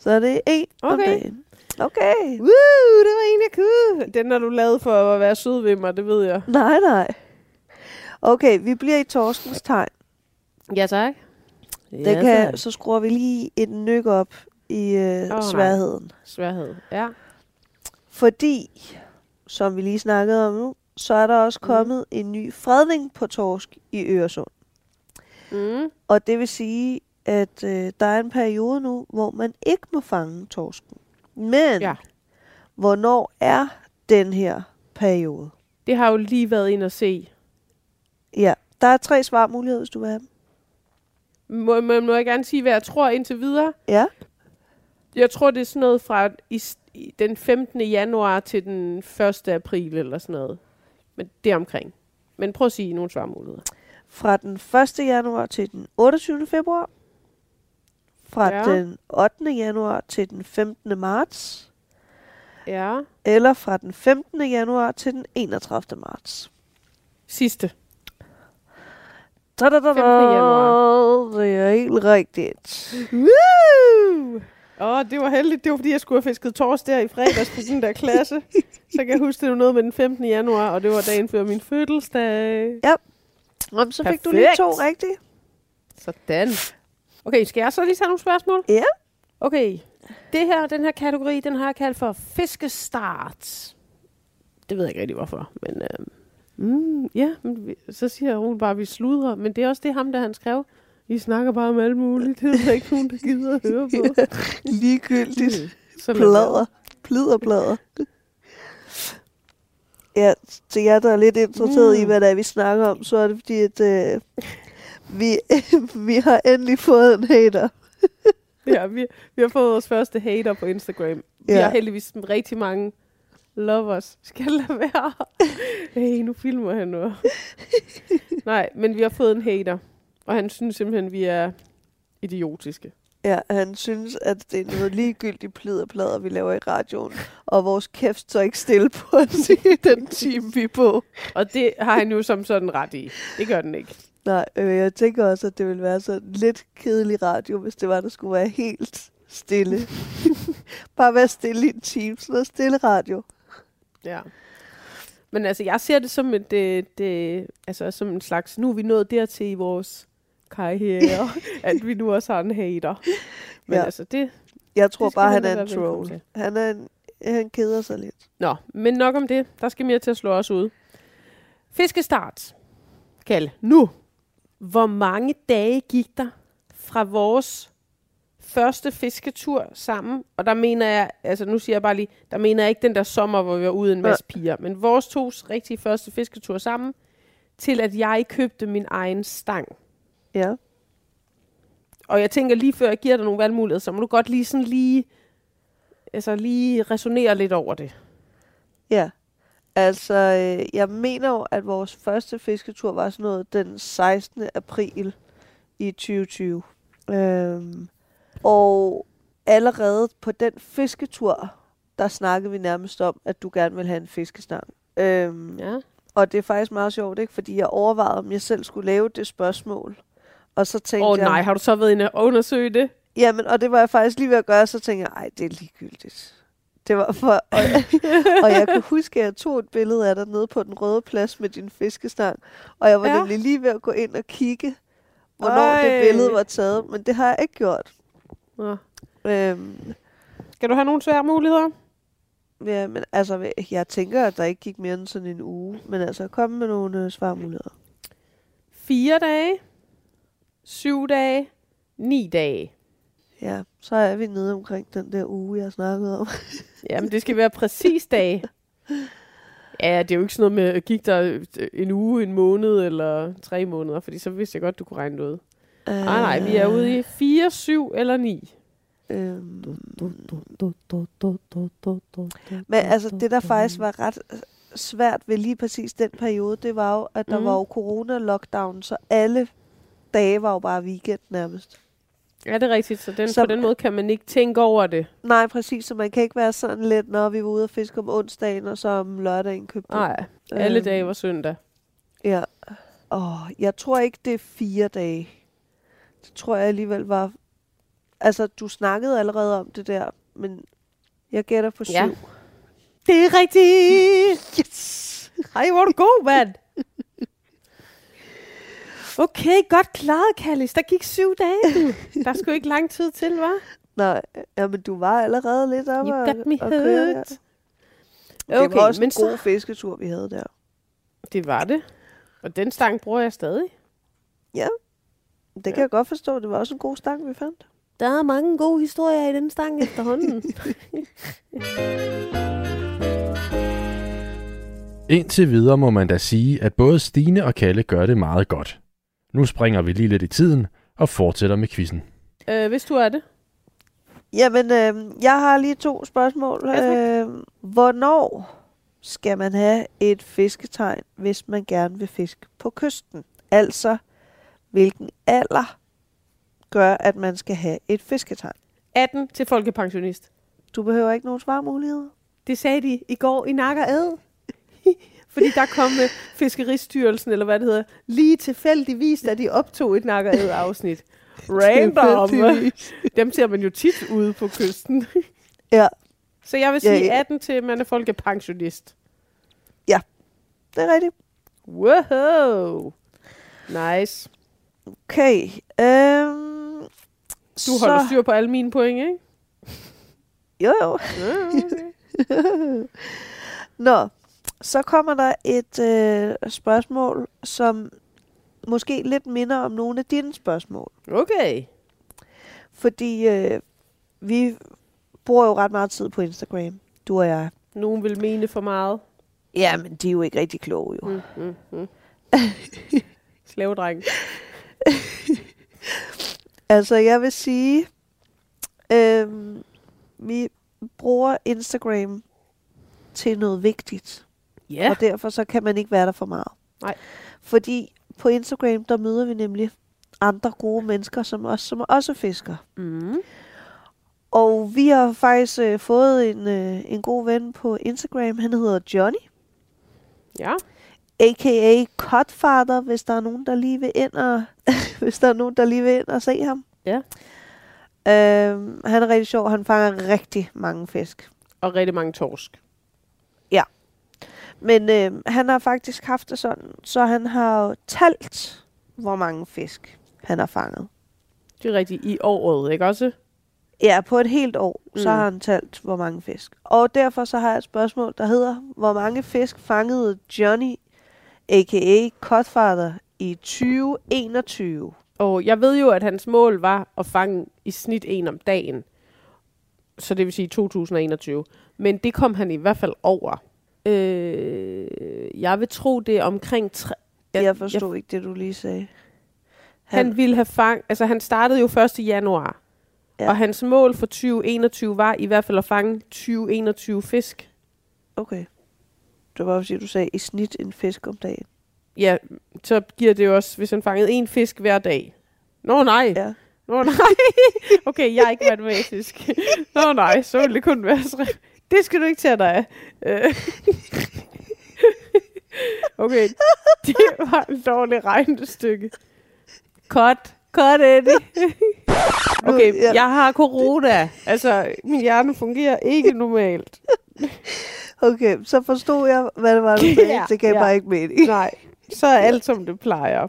Så er det en okay. om
Okay.
dagen. Okay.
Woo, det var en, jeg kunne. Den har du lavet for at være sød ved mig, det ved jeg.
Nej, nej. Okay, vi bliver i torskens tegn.
Ja, tak.
Det kan, så skruer vi lige et nyk op i øh,
nej.
oh, sværheden. Nej.
Sværhed, ja.
Fordi, som vi lige snakkede om nu, så er der også
Mm.
kommet en ny fredning på torsk i Øresund.
Mm.
Og det vil sige, at øh, der er en periode nu, hvor man ikke må fange torsken. Men
Ja.
ja. hvornår er den her periode?
Det har jo lige været ind og se.
Ja, der er tre svarmuligheder, hvis du vil have dem.
Må, må, må jeg gerne sige, hvad jeg tror indtil videre?
Ja,
Jeg tror, det er sådan noget fra i, i den 15. januar til den 1. april eller sådan noget. Men det er omkring. Men prøv at sige nogle svarmuligheder.
fra den 1. januar til den 28. februar. Fra
Ja.
ja. den 8. januar til den 15. marts.
Ja.
Eller fra den 15. januar til den 31. marts.
Sidste.
15.
januar.
Det er helt rigtigt.
Woo! Åh, oh, det var heldigt. Det var, fordi jeg skulle have fisket tors der i fredags på den der klasse. Så kan jeg huske, det var noget med den 15. januar, og det var dagen før min fødselsdag.
Nå, men så fik du lige to
Perfekt.
rigtige.
Sådan. Okay, skal jeg så lige tage nogle spørgsmål?
Ja.
Okay. Det her, den her kategori, den har jeg kaldt for fiskestart. Det ved jeg ikke rigtig, hvorfor, men... Øh, mm, ja, men, vi- så siger Rune bare, at vi sludrer, men det er også det ham, der han skrev. I snakker bare om alt muligt, det er der ikke nogen, der gider at høre på.
Ligegyldigt.
Så lad
Plader. Pliderplader. ja, til jer, der er lidt interesseret mm. i,
Mm.
hvad det er, vi snakker om, så er det fordi, at øh, vi, vi har endelig fået en hater.
Ja, vi, vi har fået vores første hater på Instagram. Vi
Ja.
har heldigvis sådan rigtig mange lovers. Skal jeg lade være? Hey, nu filmer han nu. Nej, men vi har fået en hater. Og han synes simpelthen, vi er idiotiske.
Ja, han synes, at det er noget ligegyldigt pliderplader, vi laver i radioen, og vores kæft står ikke stille på os i den time, vi er på.
Og det har han jo som sådan ret i. Det gør den ikke.
Nej, øh, jeg tænker også, at det ville være sådan lidt kedelig radio, hvis det var, der skulle være helt stille. Bare være stille i en time, sådan noget stille radio.
Ja. Men altså, jeg ser det som et, det, det, altså, som en slags, nu er vi nået dertil i vores karriere, at vi nu også har en hater. Men
Ja.
ja. altså, det,
Jeg tror
Det skal
bare,
han
han
da
er en
være velkommen
troll. Han, er en, han keder sig lidt.
Nå, men nok om det. Der skal mere til at slå os ud. Fiskestart. Kalle, nu. Hvor mange dage gik der fra vores første fisketur sammen? Og der mener jeg, altså nu siger jeg bare lige, der mener jeg ikke den der sommer, hvor vi var ude en masse piger, men vores tos rigtige første fisketur sammen, til at jeg købte min egen stang.
Ja.
Og jeg tænker lige før jeg giver dig nogle valgmuligheder, så må du godt lige sådan lige, altså lige resonere lidt over det.
Ja. Altså, øh, jeg mener jo, at vores første fisketur var sådan noget den 16. april i 2020. Øhm, og allerede på den fisketur, der snakkede vi nærmest om, at du gerne ville have en fiskestang. Øhm,
Ja.
Og det er faktisk meget sjovt, ikke? Fordi jeg overvejede, om jeg selv skulle lave det spørgsmål. Og så tænkte
Åh oh,
jeg...
nej, har du så været inde og undersøge det?
Jamen, og det var jeg faktisk lige ved at gøre, så tænkte jeg, ej, det er ligegyldigt. Det var for, og, jeg, og jeg kan huske, at jeg tog et billede af dig nede på den røde plads med din fiskestang, og jeg var
Ja.
ja. nemlig lige ved at gå ind og kigge, hvornår Ej.
Ej.
det billede var taget, men det har jeg ikke gjort.
Nå.
Øhm,
Skal du have nogle svære muligheder?
ja, men altså, jeg tænker, at der ikke gik mere end sådan en uge, men altså, kom med nogle øh, svarmuligheder.
Fire dage, syv dage, ni dage.
Ja, så er vi nede omkring den der uge, jeg snakkede om.
Jamen, det skal være præcis dage. Ja, det er jo ikke sådan noget med, at gik der øh, en uge, en måned eller tre måneder, fordi så vidste jeg godt, du kunne regne det ud. Nej, nej, vi er ude i 4, 7 eller 9.
Øhm, Men altså, det der faktisk var ret øh, svært ved lige præcis den periode, det var jo, at der
Mhm.
var jo corona-lockdown, så alle dage var jo bare weekend nærmest.
Ja, det er rigtigt, så, den, så
Så-
på den måde kan man ikke tænke over det.
Nej, præcis, så man kan ikke være sådan lidt, når vi var ude og fiske om onsdagen, og så om lørdagen købte
Nej,
vi.
alle
Øhm,
dage var søndag.
Ja. Åh, jeg tror ikke, det er fire dage. Det tror jeg alligevel var... Altså, du snakkede allerede om det der, men jeg gætter på syv.
Ja. Det er rigtigt! Yes! Ej, hvor er du god, mand! Okay, godt klaret, Kallis. Der gik syv dage, du. Der skulle ikke lang tid til, var?
Nej, ja, men du var allerede lidt oppe
You
og,
got me
og køre, ja.
hooked.
Det okay, var også
men
en
så-
god fisketur, vi havde der.
Det var det. Og den stang bruger jeg stadig.
Det kan jeg godt forstå. Det var også en god stang, vi fandt.
Der er mange gode historier i den stang efterhånden.
Indtil videre må man da sige, at både Stine og Kalle gør det meget godt. Nu springer vi lige lidt i tiden og fortsætter med quizzen.
øh, hvis du er det.
Jamen, øh, jeg har lige to spørgsmål.
Ja, tak.
øh, hvornår skal man have et fisketegn, hvis man gerne vil fiske på kysten? Altså, hvilken alder gør, at man skal have et fisketegn?
18 til folkepensionist.
Du behøver ikke nogen svarmuligheder.
Det sagde de i går i Nakker Ad. Fordi der kom øh, Fiskeristyrelsen, eller hvad det hedder, lige tilfældigvis, da de optog et Nakker Ad-afsnit. Random. Dem ser man jo tit ude på kysten.
Ja,
Så jeg vil
Ja,
sige
ja.
18 til, man er folkepensionist.
det er rigtigt.
Wow. Nice.
Okay. Øh,
Du holder styr på alle mine point, ikke?
Jo, jo.
Ja, okay.
Nå, så kommer der et øh, spørgsmål, som måske lidt minder om nogle af dine spørgsmål.
okay.
Fordi øh, vi bruger jo ret meget tid på Instagram, du og jeg.
Nogen vil mene for meget.
Ja, men de er jo ikke rigtig kloge jo.
Mm, mm, mm. Slavedreng.
Altså, jeg vil sige, øh, vi bruger Instagram til noget vigtigt.
Ja.
Og derfor så kan man ikke være der for meget.
Nej.
Fordi på Instagram, der møder vi nemlig andre gode mennesker, som os, som også fisker.
Mm.
Og vi har faktisk øh, fået en, øh, en god ven på Instagram. Han hedder Johnny,
Ja.
a.k.a. Cutfather, hvis der er nogen, der lige vil ind og, hvis der er nogen, der lige vil ind og se ham.
Ja.
Øhm, han er rigtig sjov. Han fanger rigtig mange fisk.
Og rigtig mange torsk.
Men øh, han har faktisk haft det sådan, så han har jo talt, hvor mange fisk han har fanget.
Det er rigtigt. I året, ikke også?
Ja, på et helt år, mm. så
Mm.
har han talt, hvor mange fisk. Og derfor så har jeg et spørgsmål, der hedder, hvor mange fisk fangede Johnny, a.k.a. Codfather, i 2021?
Og jeg ved jo, at hans mål var at fange i snit en om dagen. Så det vil sige 2021. Men det kom han i hvert fald over. Øh, jeg vil tro, det er omkring... Tre,
Jeg, jeg forstod jeg, ikke det, du lige sagde.
Han, han ville have fang... Altså, han startede jo 1. januar.
Ja.
Ja. Og hans mål for 2021 var i hvert fald at fange 2021 fisk.
Okay. Det var bare fordi, du sagde i snit en fisk om dagen.
Ja, så giver det jo også, hvis han fangede en fisk hver dag. Nå nej,
Ja.
nå nej. Okay, jeg er ikke matematisk. Nå nej, så ville det kun være tre. Det skal du ikke tage dig af. Øh. Okay, det var en dårlig regnestykke. Cut, cut Eddie. Okay,
Ja.
jeg har corona. Altså, min hjerne fungerer ikke normalt.
Okay, så forstod jeg, hvad det var, du sagde.
Ja,
det gav
ja.
bare ikke mening.
Nej, så er alt som det plejer.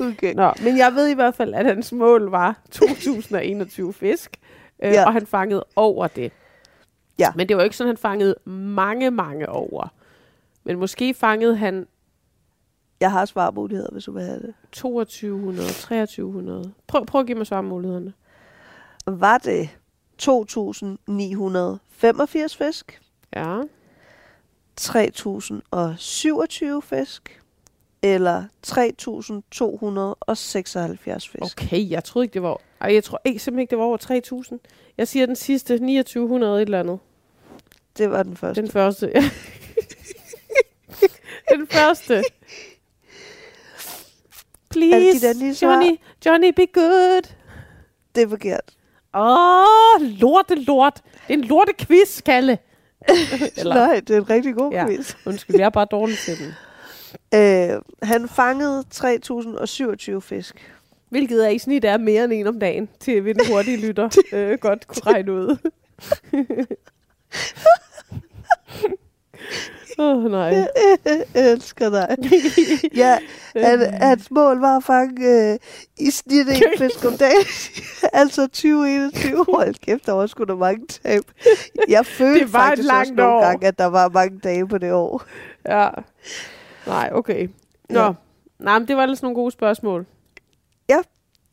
Okay.
Nå, men jeg ved i hvert fald, at hans mål var 2021 fisk, øh,
Ja.
ja. og han fangede over det.
Ja.
Men det var jo ikke sådan, han fangede mange, mange over. Men måske fangede han
Jeg har svarmuligheder, hvis du vil have det.
2200, 2300. Prøv, prøv at give mig svarmulighederne.
Var det 2.985 fisk,
Ja.
3.027 fisk eller 3.276 fisk?
Okay, jeg troede ikke, det var... Ej, jeg tror ikke, simpelthen ikke, det var over 3000. Jeg siger den sidste, 2900 et eller andet.
Det var den første.
Den første. den første. Please,
der lige svar.
Johnny, Johnny, be good.
Det er forkert.
Åh, oh, lorte, lort. Det er en lorte quiz, Kalle. Eller,
Nej, det er en rigtig god
Ja.
quiz.
undskyld, jeg er bare dårlig til den.
Øh, han fangede 3.027 fisk.
Hvilket er i snit er mere end en om dagen, til vi den hurtige lytter øh, godt kunne regne ud. Åh, oh, nej.
Jeg elsker dig. ja, han, hans mål var at fange øh, i snit en fisk om dagen. altså 2021. Hold kæft, der var sgu da mange tab. Jeg følte
var et
faktisk også
langt
nogle
år.
gange, at der var mange dage på det år.
Ja. Nej, okay. Nå.
Ja.
Ja. Nej, men det var ellers nogle gode spørgsmål.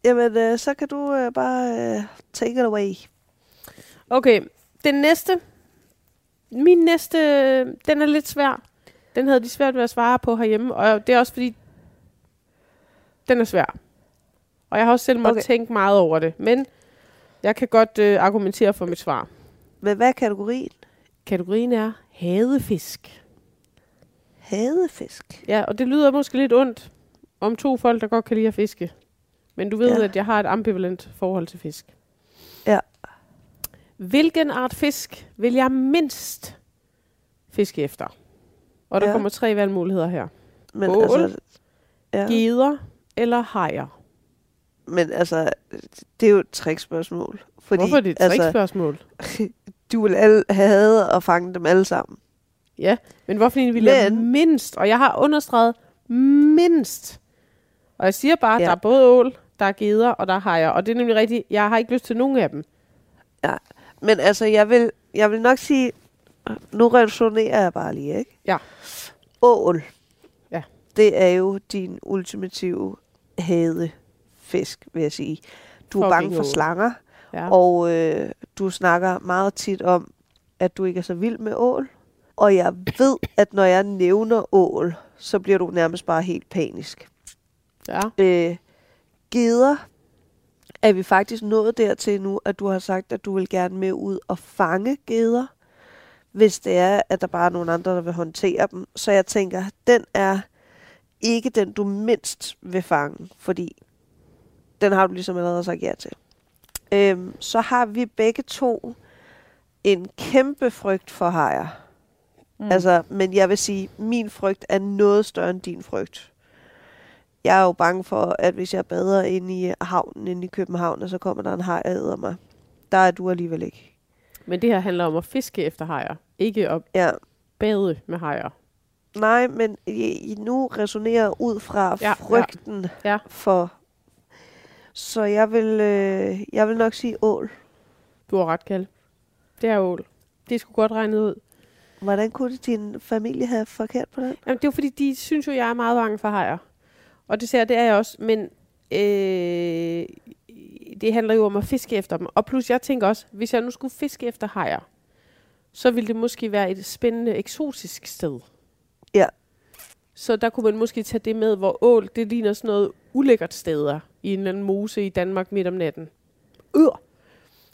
Jamen, øh, så kan du øh, bare øh, take it away.
Okay, den næste. Min næste, øh, den er lidt svær. Den havde de svært ved at svare på herhjemme, og det er også fordi, den er svær. Og jeg har også selv måttet
Okay.
okay. tænke meget over det, men jeg kan godt øh, argumentere for mit svar.
Men hvad er kategorien?
Kategorien er hadefisk.
Hadefisk.
Ja, og det lyder måske lidt ondt om to folk, der godt kan lide at fiske. Men du ved,
Ja.
ja. at jeg har et ambivalent forhold til fisk.
Ja.
Hvilken art fisk vil jeg mindst fiske efter? Og der
Ja.
ja. kommer tre valgmuligheder her.
Men
Ål.
altså, ja.
Geder eller hajer?
Men altså, det er jo et trickspørgsmål. Fordi,
Fordi, Hvorfor er det et altså... spørgsmål?
du vil alle have at fange dem alle sammen.
Ja, men hvorfor egentlig vil jeg
Men-
mindst? Og jeg har understreget mindst. Og jeg siger bare, at
Ja.
ja. der er både ål, der er geder og der er hajer. Og det er nemlig rigtigt, jeg har ikke lyst til nogen af dem.
Men altså, jeg vil, jeg vil nok sige, nu resonerer jeg bare lige, ikke?
Ja.
Ål.
Ja.
Det er jo din ultimative hadefisk, vil jeg sige. Du er
Fucking
bange for
ål.
slanger,
Ja.
og øh, du snakker meget tit om, at du ikke er så vild med ål. Og jeg ved, at når jeg nævner ål, så bliver du nærmest bare helt panisk.
ja.
øh, geder er vi faktisk nået dertil nu, at du har sagt, at du vil gerne med ud og fange geder, hvis det er, at der bare er nogen andre, der vil håndtere dem. Så jeg tænker, den er ikke den, du mindst vil fange, fordi den har du ligesom allerede sagt ja til. Øhm, så har vi begge to en kæmpe frygt for hajer. Mm. Altså, men jeg vil sige, min frygt er noget større end din frygt jeg er jo bange for, at hvis jeg bader ind i øh, havnen inde i København, og så kommer der en haj og æder mig. Der er du alligevel ikke.
Men det her handler om at fiske efter hajer, ikke at
Ja,
bade med hajer.
Nej, men I, I nu resonerer ud fra
Ja, ja.
ja, frygten ja.
Ja.
Ja. for... Så jeg vil, øh, jeg vil nok sige ål.
Du har ret, Kalle. Det er ål. Det skulle godt regnet ud.
Hvordan kunne din familie have forkert på den?
Jamen, det er jo fordi, de synes jo, jeg er meget bange for hajer. Og det ser det er jeg også. Men øh, det handler jo om at fiske efter dem. Og plus, jeg tænker også, hvis jeg nu skulle fiske efter hajer, så ville det måske være et spændende, eksotisk sted.
Ja.
Så der kunne man måske tage det med, hvor ål, det ligner sådan noget ulækkert steder i en eller anden mose i Danmark midt om natten. Ør!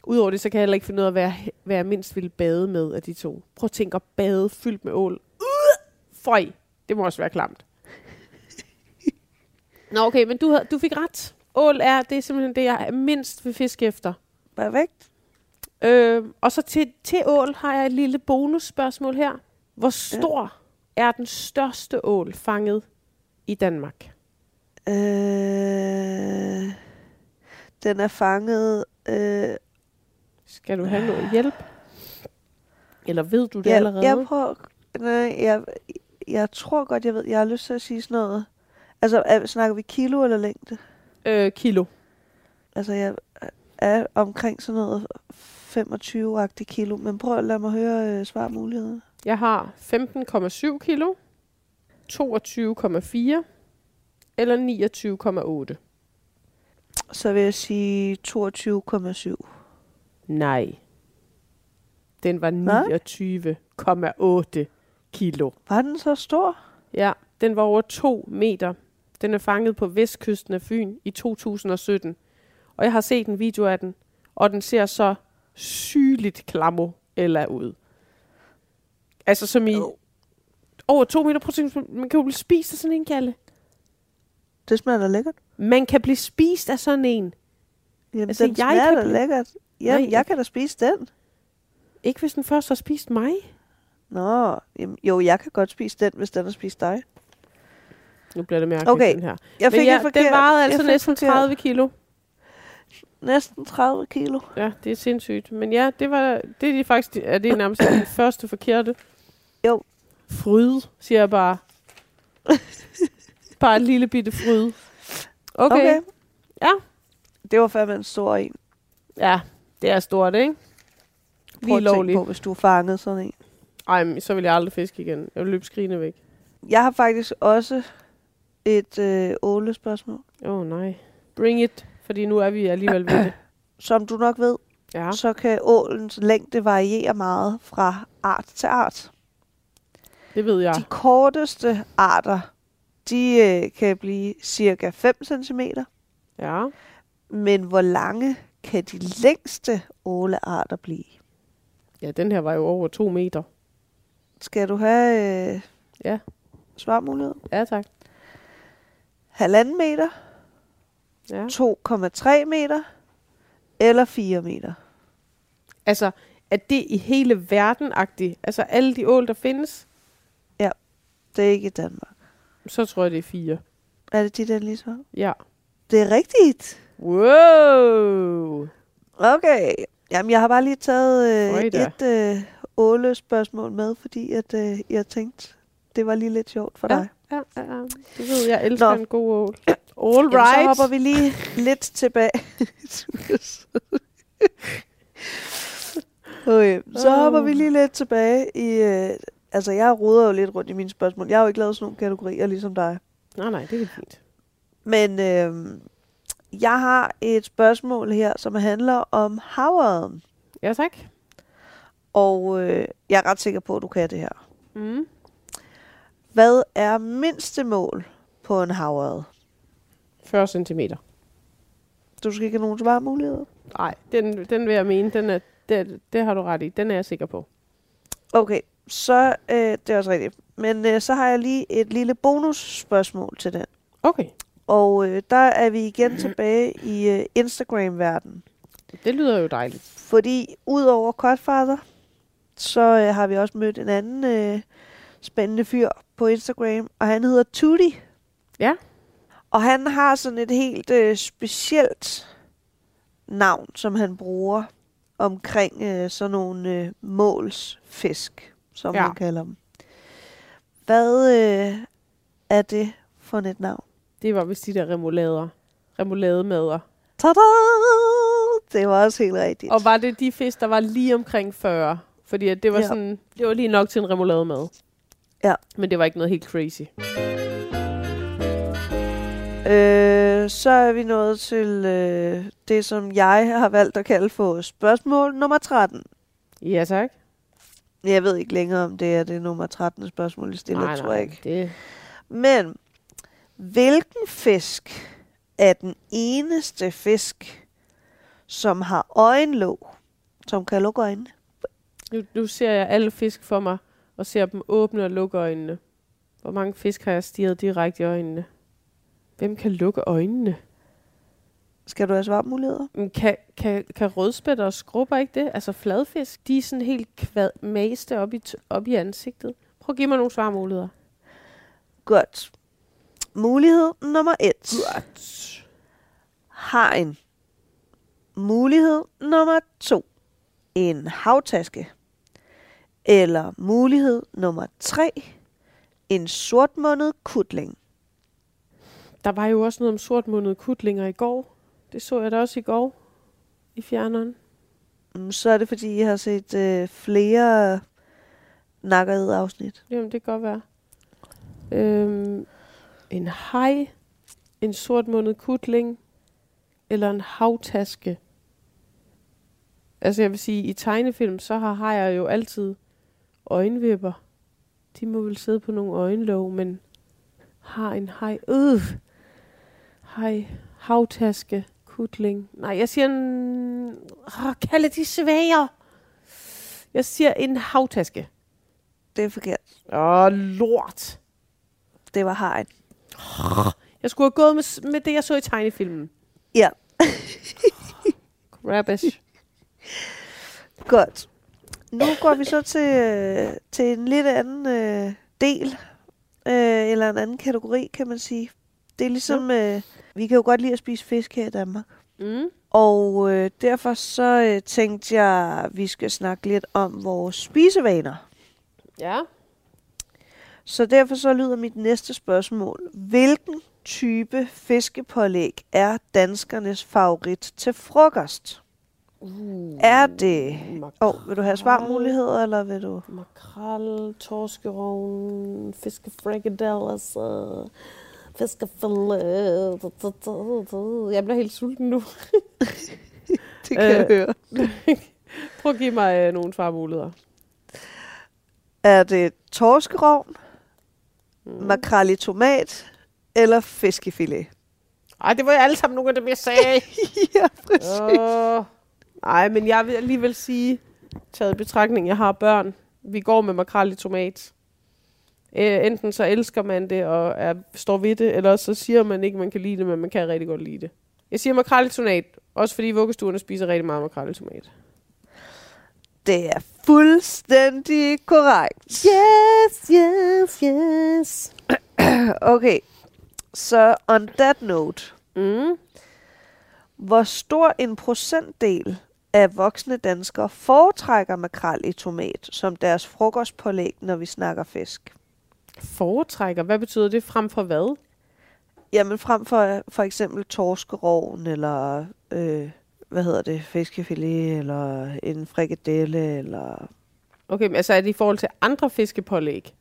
Udover det, så kan jeg heller ikke finde ud af, hvad jeg, hvad jeg mindst ville bade med af de to. Prøv at tænke at bade fyldt med ål. Føj, det må også være klamt. Nå, okay, men du, havde, du fik ret. Ål er, det er simpelthen det, jeg mindst vil fiske efter.
Perfekt.
Øh, og så til, til ål har jeg et lille bonusspørgsmål her. Hvor stor ja. er den største ål fanget i Danmark?
Øh, den er fanget... Øh,
Skal du have noget hjælp? Eller ved du det
jeg,
allerede?
jeg prøver... Nej, jeg, jeg tror godt, jeg ved... Jeg har lyst til at sige sådan noget... Altså, er, snakker vi kilo eller længde?
Øh, kilo.
Altså, jeg er omkring sådan noget 25-agtig kilo, men prøv at lade mig høre øh, svarmulighederne.
Jeg har 15,7 kilo, 22,4 eller 29,8.
Så vil jeg sige 22,7.
Nej. Den var
Hvad?
29,8 kilo.
Var den så stor?
Ja, den var over 2 meter. Den er fanget på vestkysten af Fyn i 2017. Og jeg har set en video af den, og den ser så sygeligt klammo eller ud. Altså som i... Over 2 meter, prøv at tænke, man kan jo blive spist af sådan en, Kalle.
Det smager da lækkert.
Man kan blive spist af sådan en.
Jamen,
Altså,
altså, den
jeg
smager
kan
da
blive-
lækkert. Jamen,
Nej.
Nej. jeg kan da spise den.
Ikke hvis den først har spist mig.
Nå, jamen, jo, jeg kan godt spise den, hvis den har spist dig.
Nu bliver det mærkeligt,
Okay.
den her.
Jeg fik
Men ja,
et forkert.
den vejede altså
jeg fik
næsten
forkert.
30 kilo.
Næsten 30 kilo.
Ja, det er sindssygt. Men ja, det var det er de faktisk er det nærmest den første forkerte.
Jo.
Fryd, siger jeg bare. bare en lille bitte fryd. Okay. okay. Ja.
Det var fandme en stor en.
Ja, det er stort, ikke?
Prøv at tænke
lovligt.
på, hvis du fangede sådan en.
Ej, men så vil jeg aldrig fiske igen. Jeg vil løbe skrigende væk.
Jeg har faktisk også et øh, ålespørgsmål.
Åh oh, nej. Bring it, fordi nu er vi alligevel ved det.
Som du nok ved,
Ja.
så kan ålens længde variere meget fra art til art.
Det ved jeg.
De korteste arter, de øh, kan blive cirka 5 cm,
Ja.
men hvor lange kan de længste ålearter blive?
Ja, den her var jo over to meter.
Skal du have øh,
Ja.
svarmulighed?
Ja, tak.
Halvanden meter,
Ja.
2,3 meter eller 4 meter?
Altså, er det i hele verden -agtigt? Altså, alle de ål, der findes,
Det er ikke i Danmark.
så tror jeg, det er fire.
Er det dit endelige svar?
Ja.
Det er rigtigt.
Wow!
Okay. Jamen, jeg har bare lige taget øh,
Føj da.
et øh, ålespørgsmål med, fordi at, øh, jeg tænkte, det var lige lidt sjovt for
Ja,
dig.
Ja, ja, ja. Du ved, jeg elsker Nå.
Nå.
en god ål. All
Jamen,
right.
så hopper vi lige lidt tilbage. okay, så hopper vi lige lidt tilbage i... Øh, altså, jeg roder jo lidt rundt i mine spørgsmål. Jeg har jo ikke lavet sådan nogle kategorier ligesom dig.
Nej, nej, det er fint.
Men øh, jeg har et spørgsmål her, som handler om havørden.
Ja, tak.
Og øh, jeg er ret sikker på, at du kan det her.
Mm.
Hvad er mindste mål på en havørde?
40 cm.
Du skal ikke have nogen svarmuligheder.
Nej, den, den vil jeg mene. Den er, det, det har du ret i. Den er jeg sikker på.
Okay, så øh, det er også rigtigt. Men øh, så har jeg lige et lille bonusspørgsmål til den.
Okay.
Og øh, der er vi igen tilbage i øh, Instagram-verdenen.
Det lyder jo dejligt.
Fordi udover Godfather, så øh, har vi også mødt en anden øh, spændende fyr på Instagram, og han hedder Tutti.
Ja.
Og han har sådan et helt øh, specielt navn, som han bruger omkring øh, sådan nogle øh, målsfisk, som
Ja.
man kalder dem. Hvad øh, er det for et navn?
Det var vist de der remoulader. Remoulade-mader.
Tada! Det var også helt rigtigt.
Og var det de fisk, der var lige omkring 40? Fordi at det var,
Ja.
ja. sådan, det var lige nok til en remoulademad.
Ja.
Men det var ikke noget helt crazy.
Øh, så er vi nået til øh, det, som jeg har valgt at kalde for spørgsmål nummer 13.
Ja, tak.
Jeg ved ikke længere, om det er det nummer 13. spørgsmål, I stiller, nej, tror jeg ikke.
Det...
Men, hvilken fisk er den eneste fisk, som har øjenlåg, som kan lukke øjnene?
Nu, nu ser jeg alle fisk for mig, og ser dem åbne og lukke øjnene. Hvor mange fisk har jeg stirret direkte i øjnene? Hvem kan lukke øjnene?
Skal du have svarmuligheder?
Men Kan, kan, kan rødspætter og skrubber ikke det? Altså fladfisk, de er sådan helt kvad, maste op i, t- op i ansigtet. Prøv at give mig nogle svarmuligheder.
Godt. Mulighed nummer 1. Har en. Mulighed nummer 2. En havtaske. Eller mulighed nummer 3. En sortmundet kutling.
Der var jo også noget om sortmundede kutlinger i går. Det så jeg da også i går i fjerneren.
Mm, Så er det, fordi jeg har set øh, flere nakkerede afsnit.
Jamen, det kan godt være. Øhm, en hej, en sortmundet kutling eller en havtaske. Altså, jeg vil sige, i tegnefilm, så har hajer jo altid øjenvipper. De må vel sidde på nogle øjenlåg, men har en hej. Øh, hej, havtaske, kutling. Nej, jeg siger en... Oh, kalde de svære. Jeg siger en havtaske.
Det er forkert.
Åh, lort.
Det var hajen.
Jeg skulle have gået med, s- med det, jeg så i tegnefilmen.
Ja.
Rubbish.
Godt. Nu går vi så til, øh, til en lidt anden øh, del, øh, eller en anden kategori, kan man sige. Det er ligesom, øh, vi kan jo godt lide at spise fisk her i Danmark.
Mm.
Og øh, derfor så øh, tænkte jeg, at vi skal snakke lidt om vores spisevaner.
Ja.
Så derfor så lyder mit næste spørgsmål. Hvilken type fiskepålæg er danskernes favorit til frokost?
Uh,
Er det...
Mak-
Åh, oh, vil du have svarmuligheder, eller vil du...
makrel, torskerovn, fiskefrikadeller, så fiskefilet. Jeg bliver helt sulten nu.
Det
kan jeg
høre.
Prøv at give mig øh, nogle svarmuligheder.
Er det torskerovn, mm. makrel i tomat eller fiskefilet?
Ej, det var jo alle sammen nogle af dem, jeg sagde.
ja, præcis.
Åh. Nej, men jeg vil alligevel sige, taget i betragtning, jeg har børn. Vi går med makrel i tomat. Øh, enten så elsker man det og er, står ved det, eller så siger man ikke, man kan lide det, men man kan rigtig godt lide det. Jeg siger makrel i tomat, også fordi vuggestuerne spiser rigtig meget makrel i tomat.
Det er fuldstændig korrekt.
Yes, yes, yes.
Okay, så on that note,
Mm.
hvor stor en procentdel af voksne danskere foretrækker makrel i tomat som deres frokostpålæg, når vi snakker fisk?
Foretrækker, hvad betyder det frem for hvad?
Jamen frem for for eksempel torskeroven, eller øh, hvad hedder det, fiskefilet, eller en frikadelle, eller
Okay, men altså er det i forhold til andre fiskepålæg?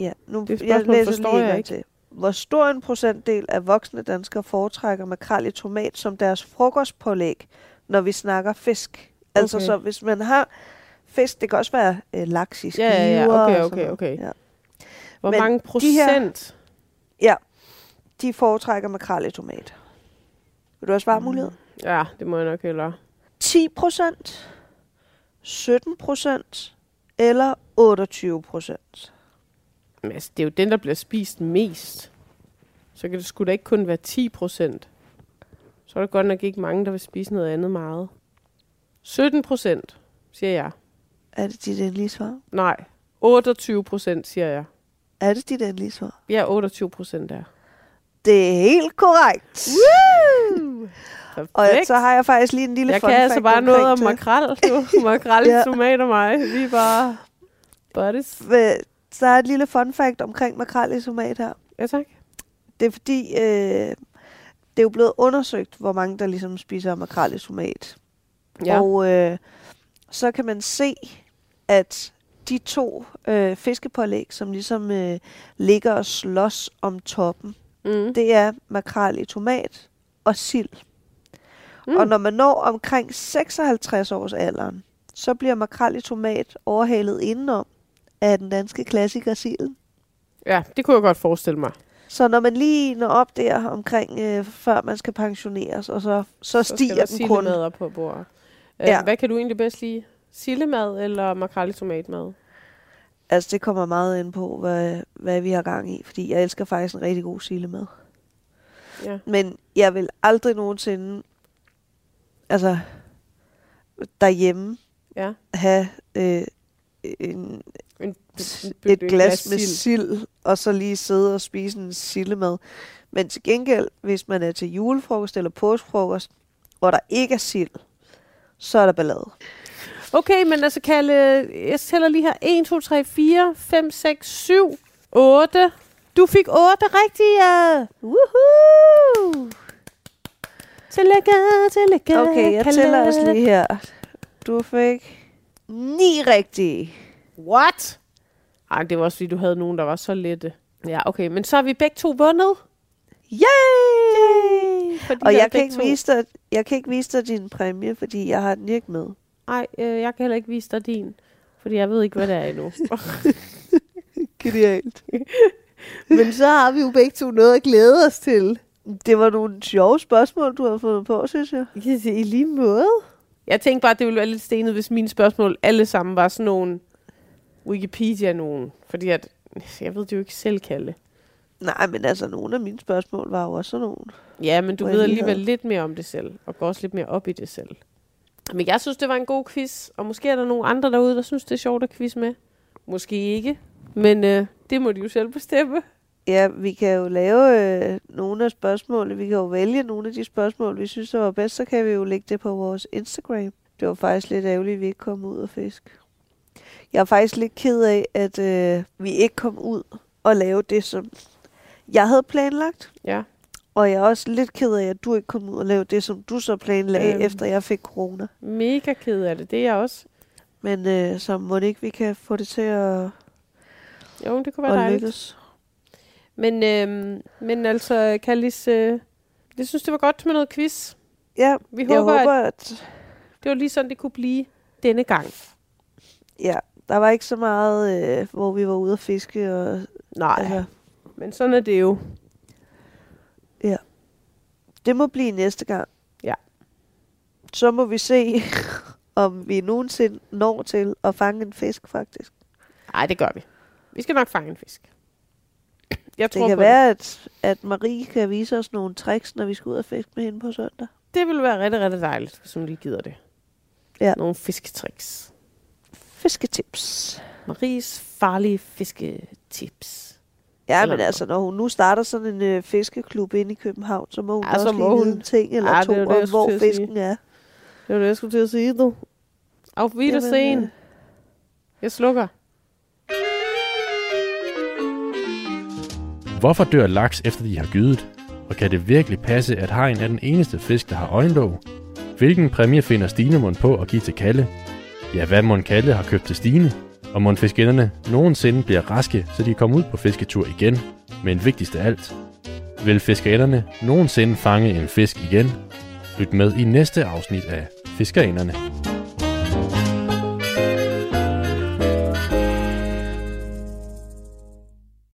Ja, nu
Det
det jeg
spørgsmål
læser
forstår
lige en
jeg
gang
ikke.
til. Hvor stor en procentdel af voksne danskere foretrækker makrel i tomat som deres frokostpålæg, når vi snakker fisk? Okay. Altså
Okay.
så hvis man har fisk, det kan også være øh, laks i skiver.
Ja, ja, ja,
og
okay,
sådan
okay,
noget.
okay.
Ja.
Hvor
Men
mange
de her-
procent?
De foretrækker makrel i tomat. Vil du have svarmulighed? Mm.
Ja, det må jeg nok hellere.
10 procent, 17 procent eller 28 procent?
Men altså, det er jo den, der bliver spist mest. Så kan det sgu da ikke kun være 10 procent. Så er der godt nok ikke mange, der vil spise noget andet meget. 17 procent, siger jeg.
Er det dit endelige svar?
Nej, 28 procent, siger jeg.
Er det dit endelige svar?
Ja, 28 procent er.
Det er helt korrekt. Og
Perfekt.
så har jeg faktisk lige en lille
jeg
fun
kan altså
fact
bare noget
omkring
om
det.
makrel. Du, makrel i
Ja.
tomat og mig. Vi er bare buddies.
Hva- der Øh, er et lille fun fact omkring makrel i somat her.
Ja, tak.
Det er fordi, øh, det er jo blevet undersøgt, hvor mange der ligesom spiser makrel i somat.
Ja.
Og øh, så kan man se, at de to øh, fiskepålæg, som ligesom øh, ligger og slås om toppen,
Mm.
det er makrel i tomat og sild. Mm. Og når man når omkring 56 års alderen, så bliver makrel i tomat overhalet indenom af den danske klassiker silden.
Ja, det kunne jeg godt forestille mig.
Så når man lige når op der omkring, øh, før man skal pensioneres, og så, så, så
Så skal
stiger
der
den kun.
sillemad op på bordet.
Ja.
Ja. Hvad kan du egentlig bedst lide? Sillemad eller makrel i tomatmad?
Altså det kommer meget ind på, hvad, hvad vi har gang i, fordi jeg elsker faktisk en rigtig god sillemad.
Ja.
Men jeg vil aldrig nogensinde, altså derhjemme,
Ja.
have øh, en,
En,
et glas med sild, og så lige sidde og spise en sillemad. Men til gengæld, hvis man er til julefrokost eller påskefrokost, hvor der ikke er sild, så er der ballade.
Okay, men altså Kalle, jeg tæller lige her. 1, 2, 3, 4, 5, 6, 7, 8. Du fik 8 rigtige! Woohoo! Tillykke, tillykke,
Okay, jeg
Kalle.
tæller os lige her. Du fik ni rigtige.
What? Ej, det var også fordi, du havde nogen, der var så lette. Ja, okay, men så har vi begge to vundet.
Yay!
Fordi
Og
der er
jeg kan,
begge
ikke
to-
vise dig, jeg kan ikke vise dig din præmie, fordi jeg har den ikke med.
Ej, øh, jeg kan heller ikke vise dig din, fordi jeg ved ikke, hvad det er endnu.
Genialt.
Men så har vi jo begge to noget at glæde os til.
Det var nogle sjove spørgsmål, du har fundet på, synes jeg.
I lige måde.
jeg tænkte bare, at det ville være lidt stenet, hvis mine spørgsmål alle sammen var sådan nogle Wikipedia-nogen. Fordi at, jeg ved det jo ikke selv, Kalle.
Nej, men altså, nogle af mine spørgsmål var jo også sådan nogle.
Ja, men du
Hvor
ved
jeg lige
alligevel
havde-
lidt mere om det selv, og går også lidt mere op i det selv. Men jeg synes, det var en god quiz, og måske er der nogle andre derude, der synes, det er sjovt at quiz med. Måske ikke, men øh, det må de jo selv bestemme.
Ja, vi kan jo lave øh, nogle af spørgsmålene. Vi kan jo vælge nogle af de spørgsmål, vi synes, der var bedst. Så kan vi jo lægge det på vores Instagram. Det var faktisk lidt ærgerligt, at vi ikke kom ud og fisk. Jeg er faktisk lidt ked af, at øh, vi ikke kom ud og lave det, som jeg havde planlagt.
Ja.
Og jeg er også lidt ked af, at du ikke kom ud og lave det, som du så planlagde,
Øhm.
efter jeg fik corona.
Mega ked af det, det er jeg også.
Men øh, så må det ikke, vi kan få det til at,
Jo, det kunne være
at
dejligt.
lykkes.
Men, øhm, men altså, Kallis, øh, jeg synes, det var godt med noget quiz.
Ja,
Vi
jeg
håber,
håber,
at-
at
Det var lige sådan, det kunne blive denne gang.
Ja, der var ikke så meget, øh, hvor vi var ude at fiske. Og,
Nej,
altså,
men sådan er det jo.
det må blive næste gang.
Ja.
Så må vi se, om vi nogensinde når til at fange en fisk, faktisk.
Nej, det gør vi. Vi skal nok fange en fisk. Jeg
Det
tror
kan
på
være, at, at Marie kan vise os nogle tricks, når vi skal ud og fiske med hende på søndag.
det. Det ville være rigtig, rigtig dejligt, hvis hun lige gider det.
Ja.
Nogle fisketricks.
Fisketips.
Maries farlige fisketips.
Ja,
Eller
men
noget.
altså, når hun nu starter sådan en øh, fiskeklub inde i København, så må hun
Ja,
ja, også
så
lige
må
vide
hun.
en ting eller
Ja,
to
det er jo det,
om,
jeg
hvor
skulle til at sige.
fisken er.
Det var det, jeg skulle til at sige, du. Auf Wiedersehen.
øh.
Jeg slukker.
Hvorfor dør laks efter de har gydet? Og kan det virkelig passe, at hajen er den eneste fisk, der har øjenlåg? Hvilken præmie finder Stine Mund på at give til Kalle? Ja, hvad Mund Kalle har købt til Stine? Og Mund Fiskinderne nogensinde bliver raske, så de kan komme ud på fisketur igen? Men vigtigst af alt, vil fiskerinderne nogensinde fange en fisk igen? Lyt med i næste afsnit af Fiskerinderne.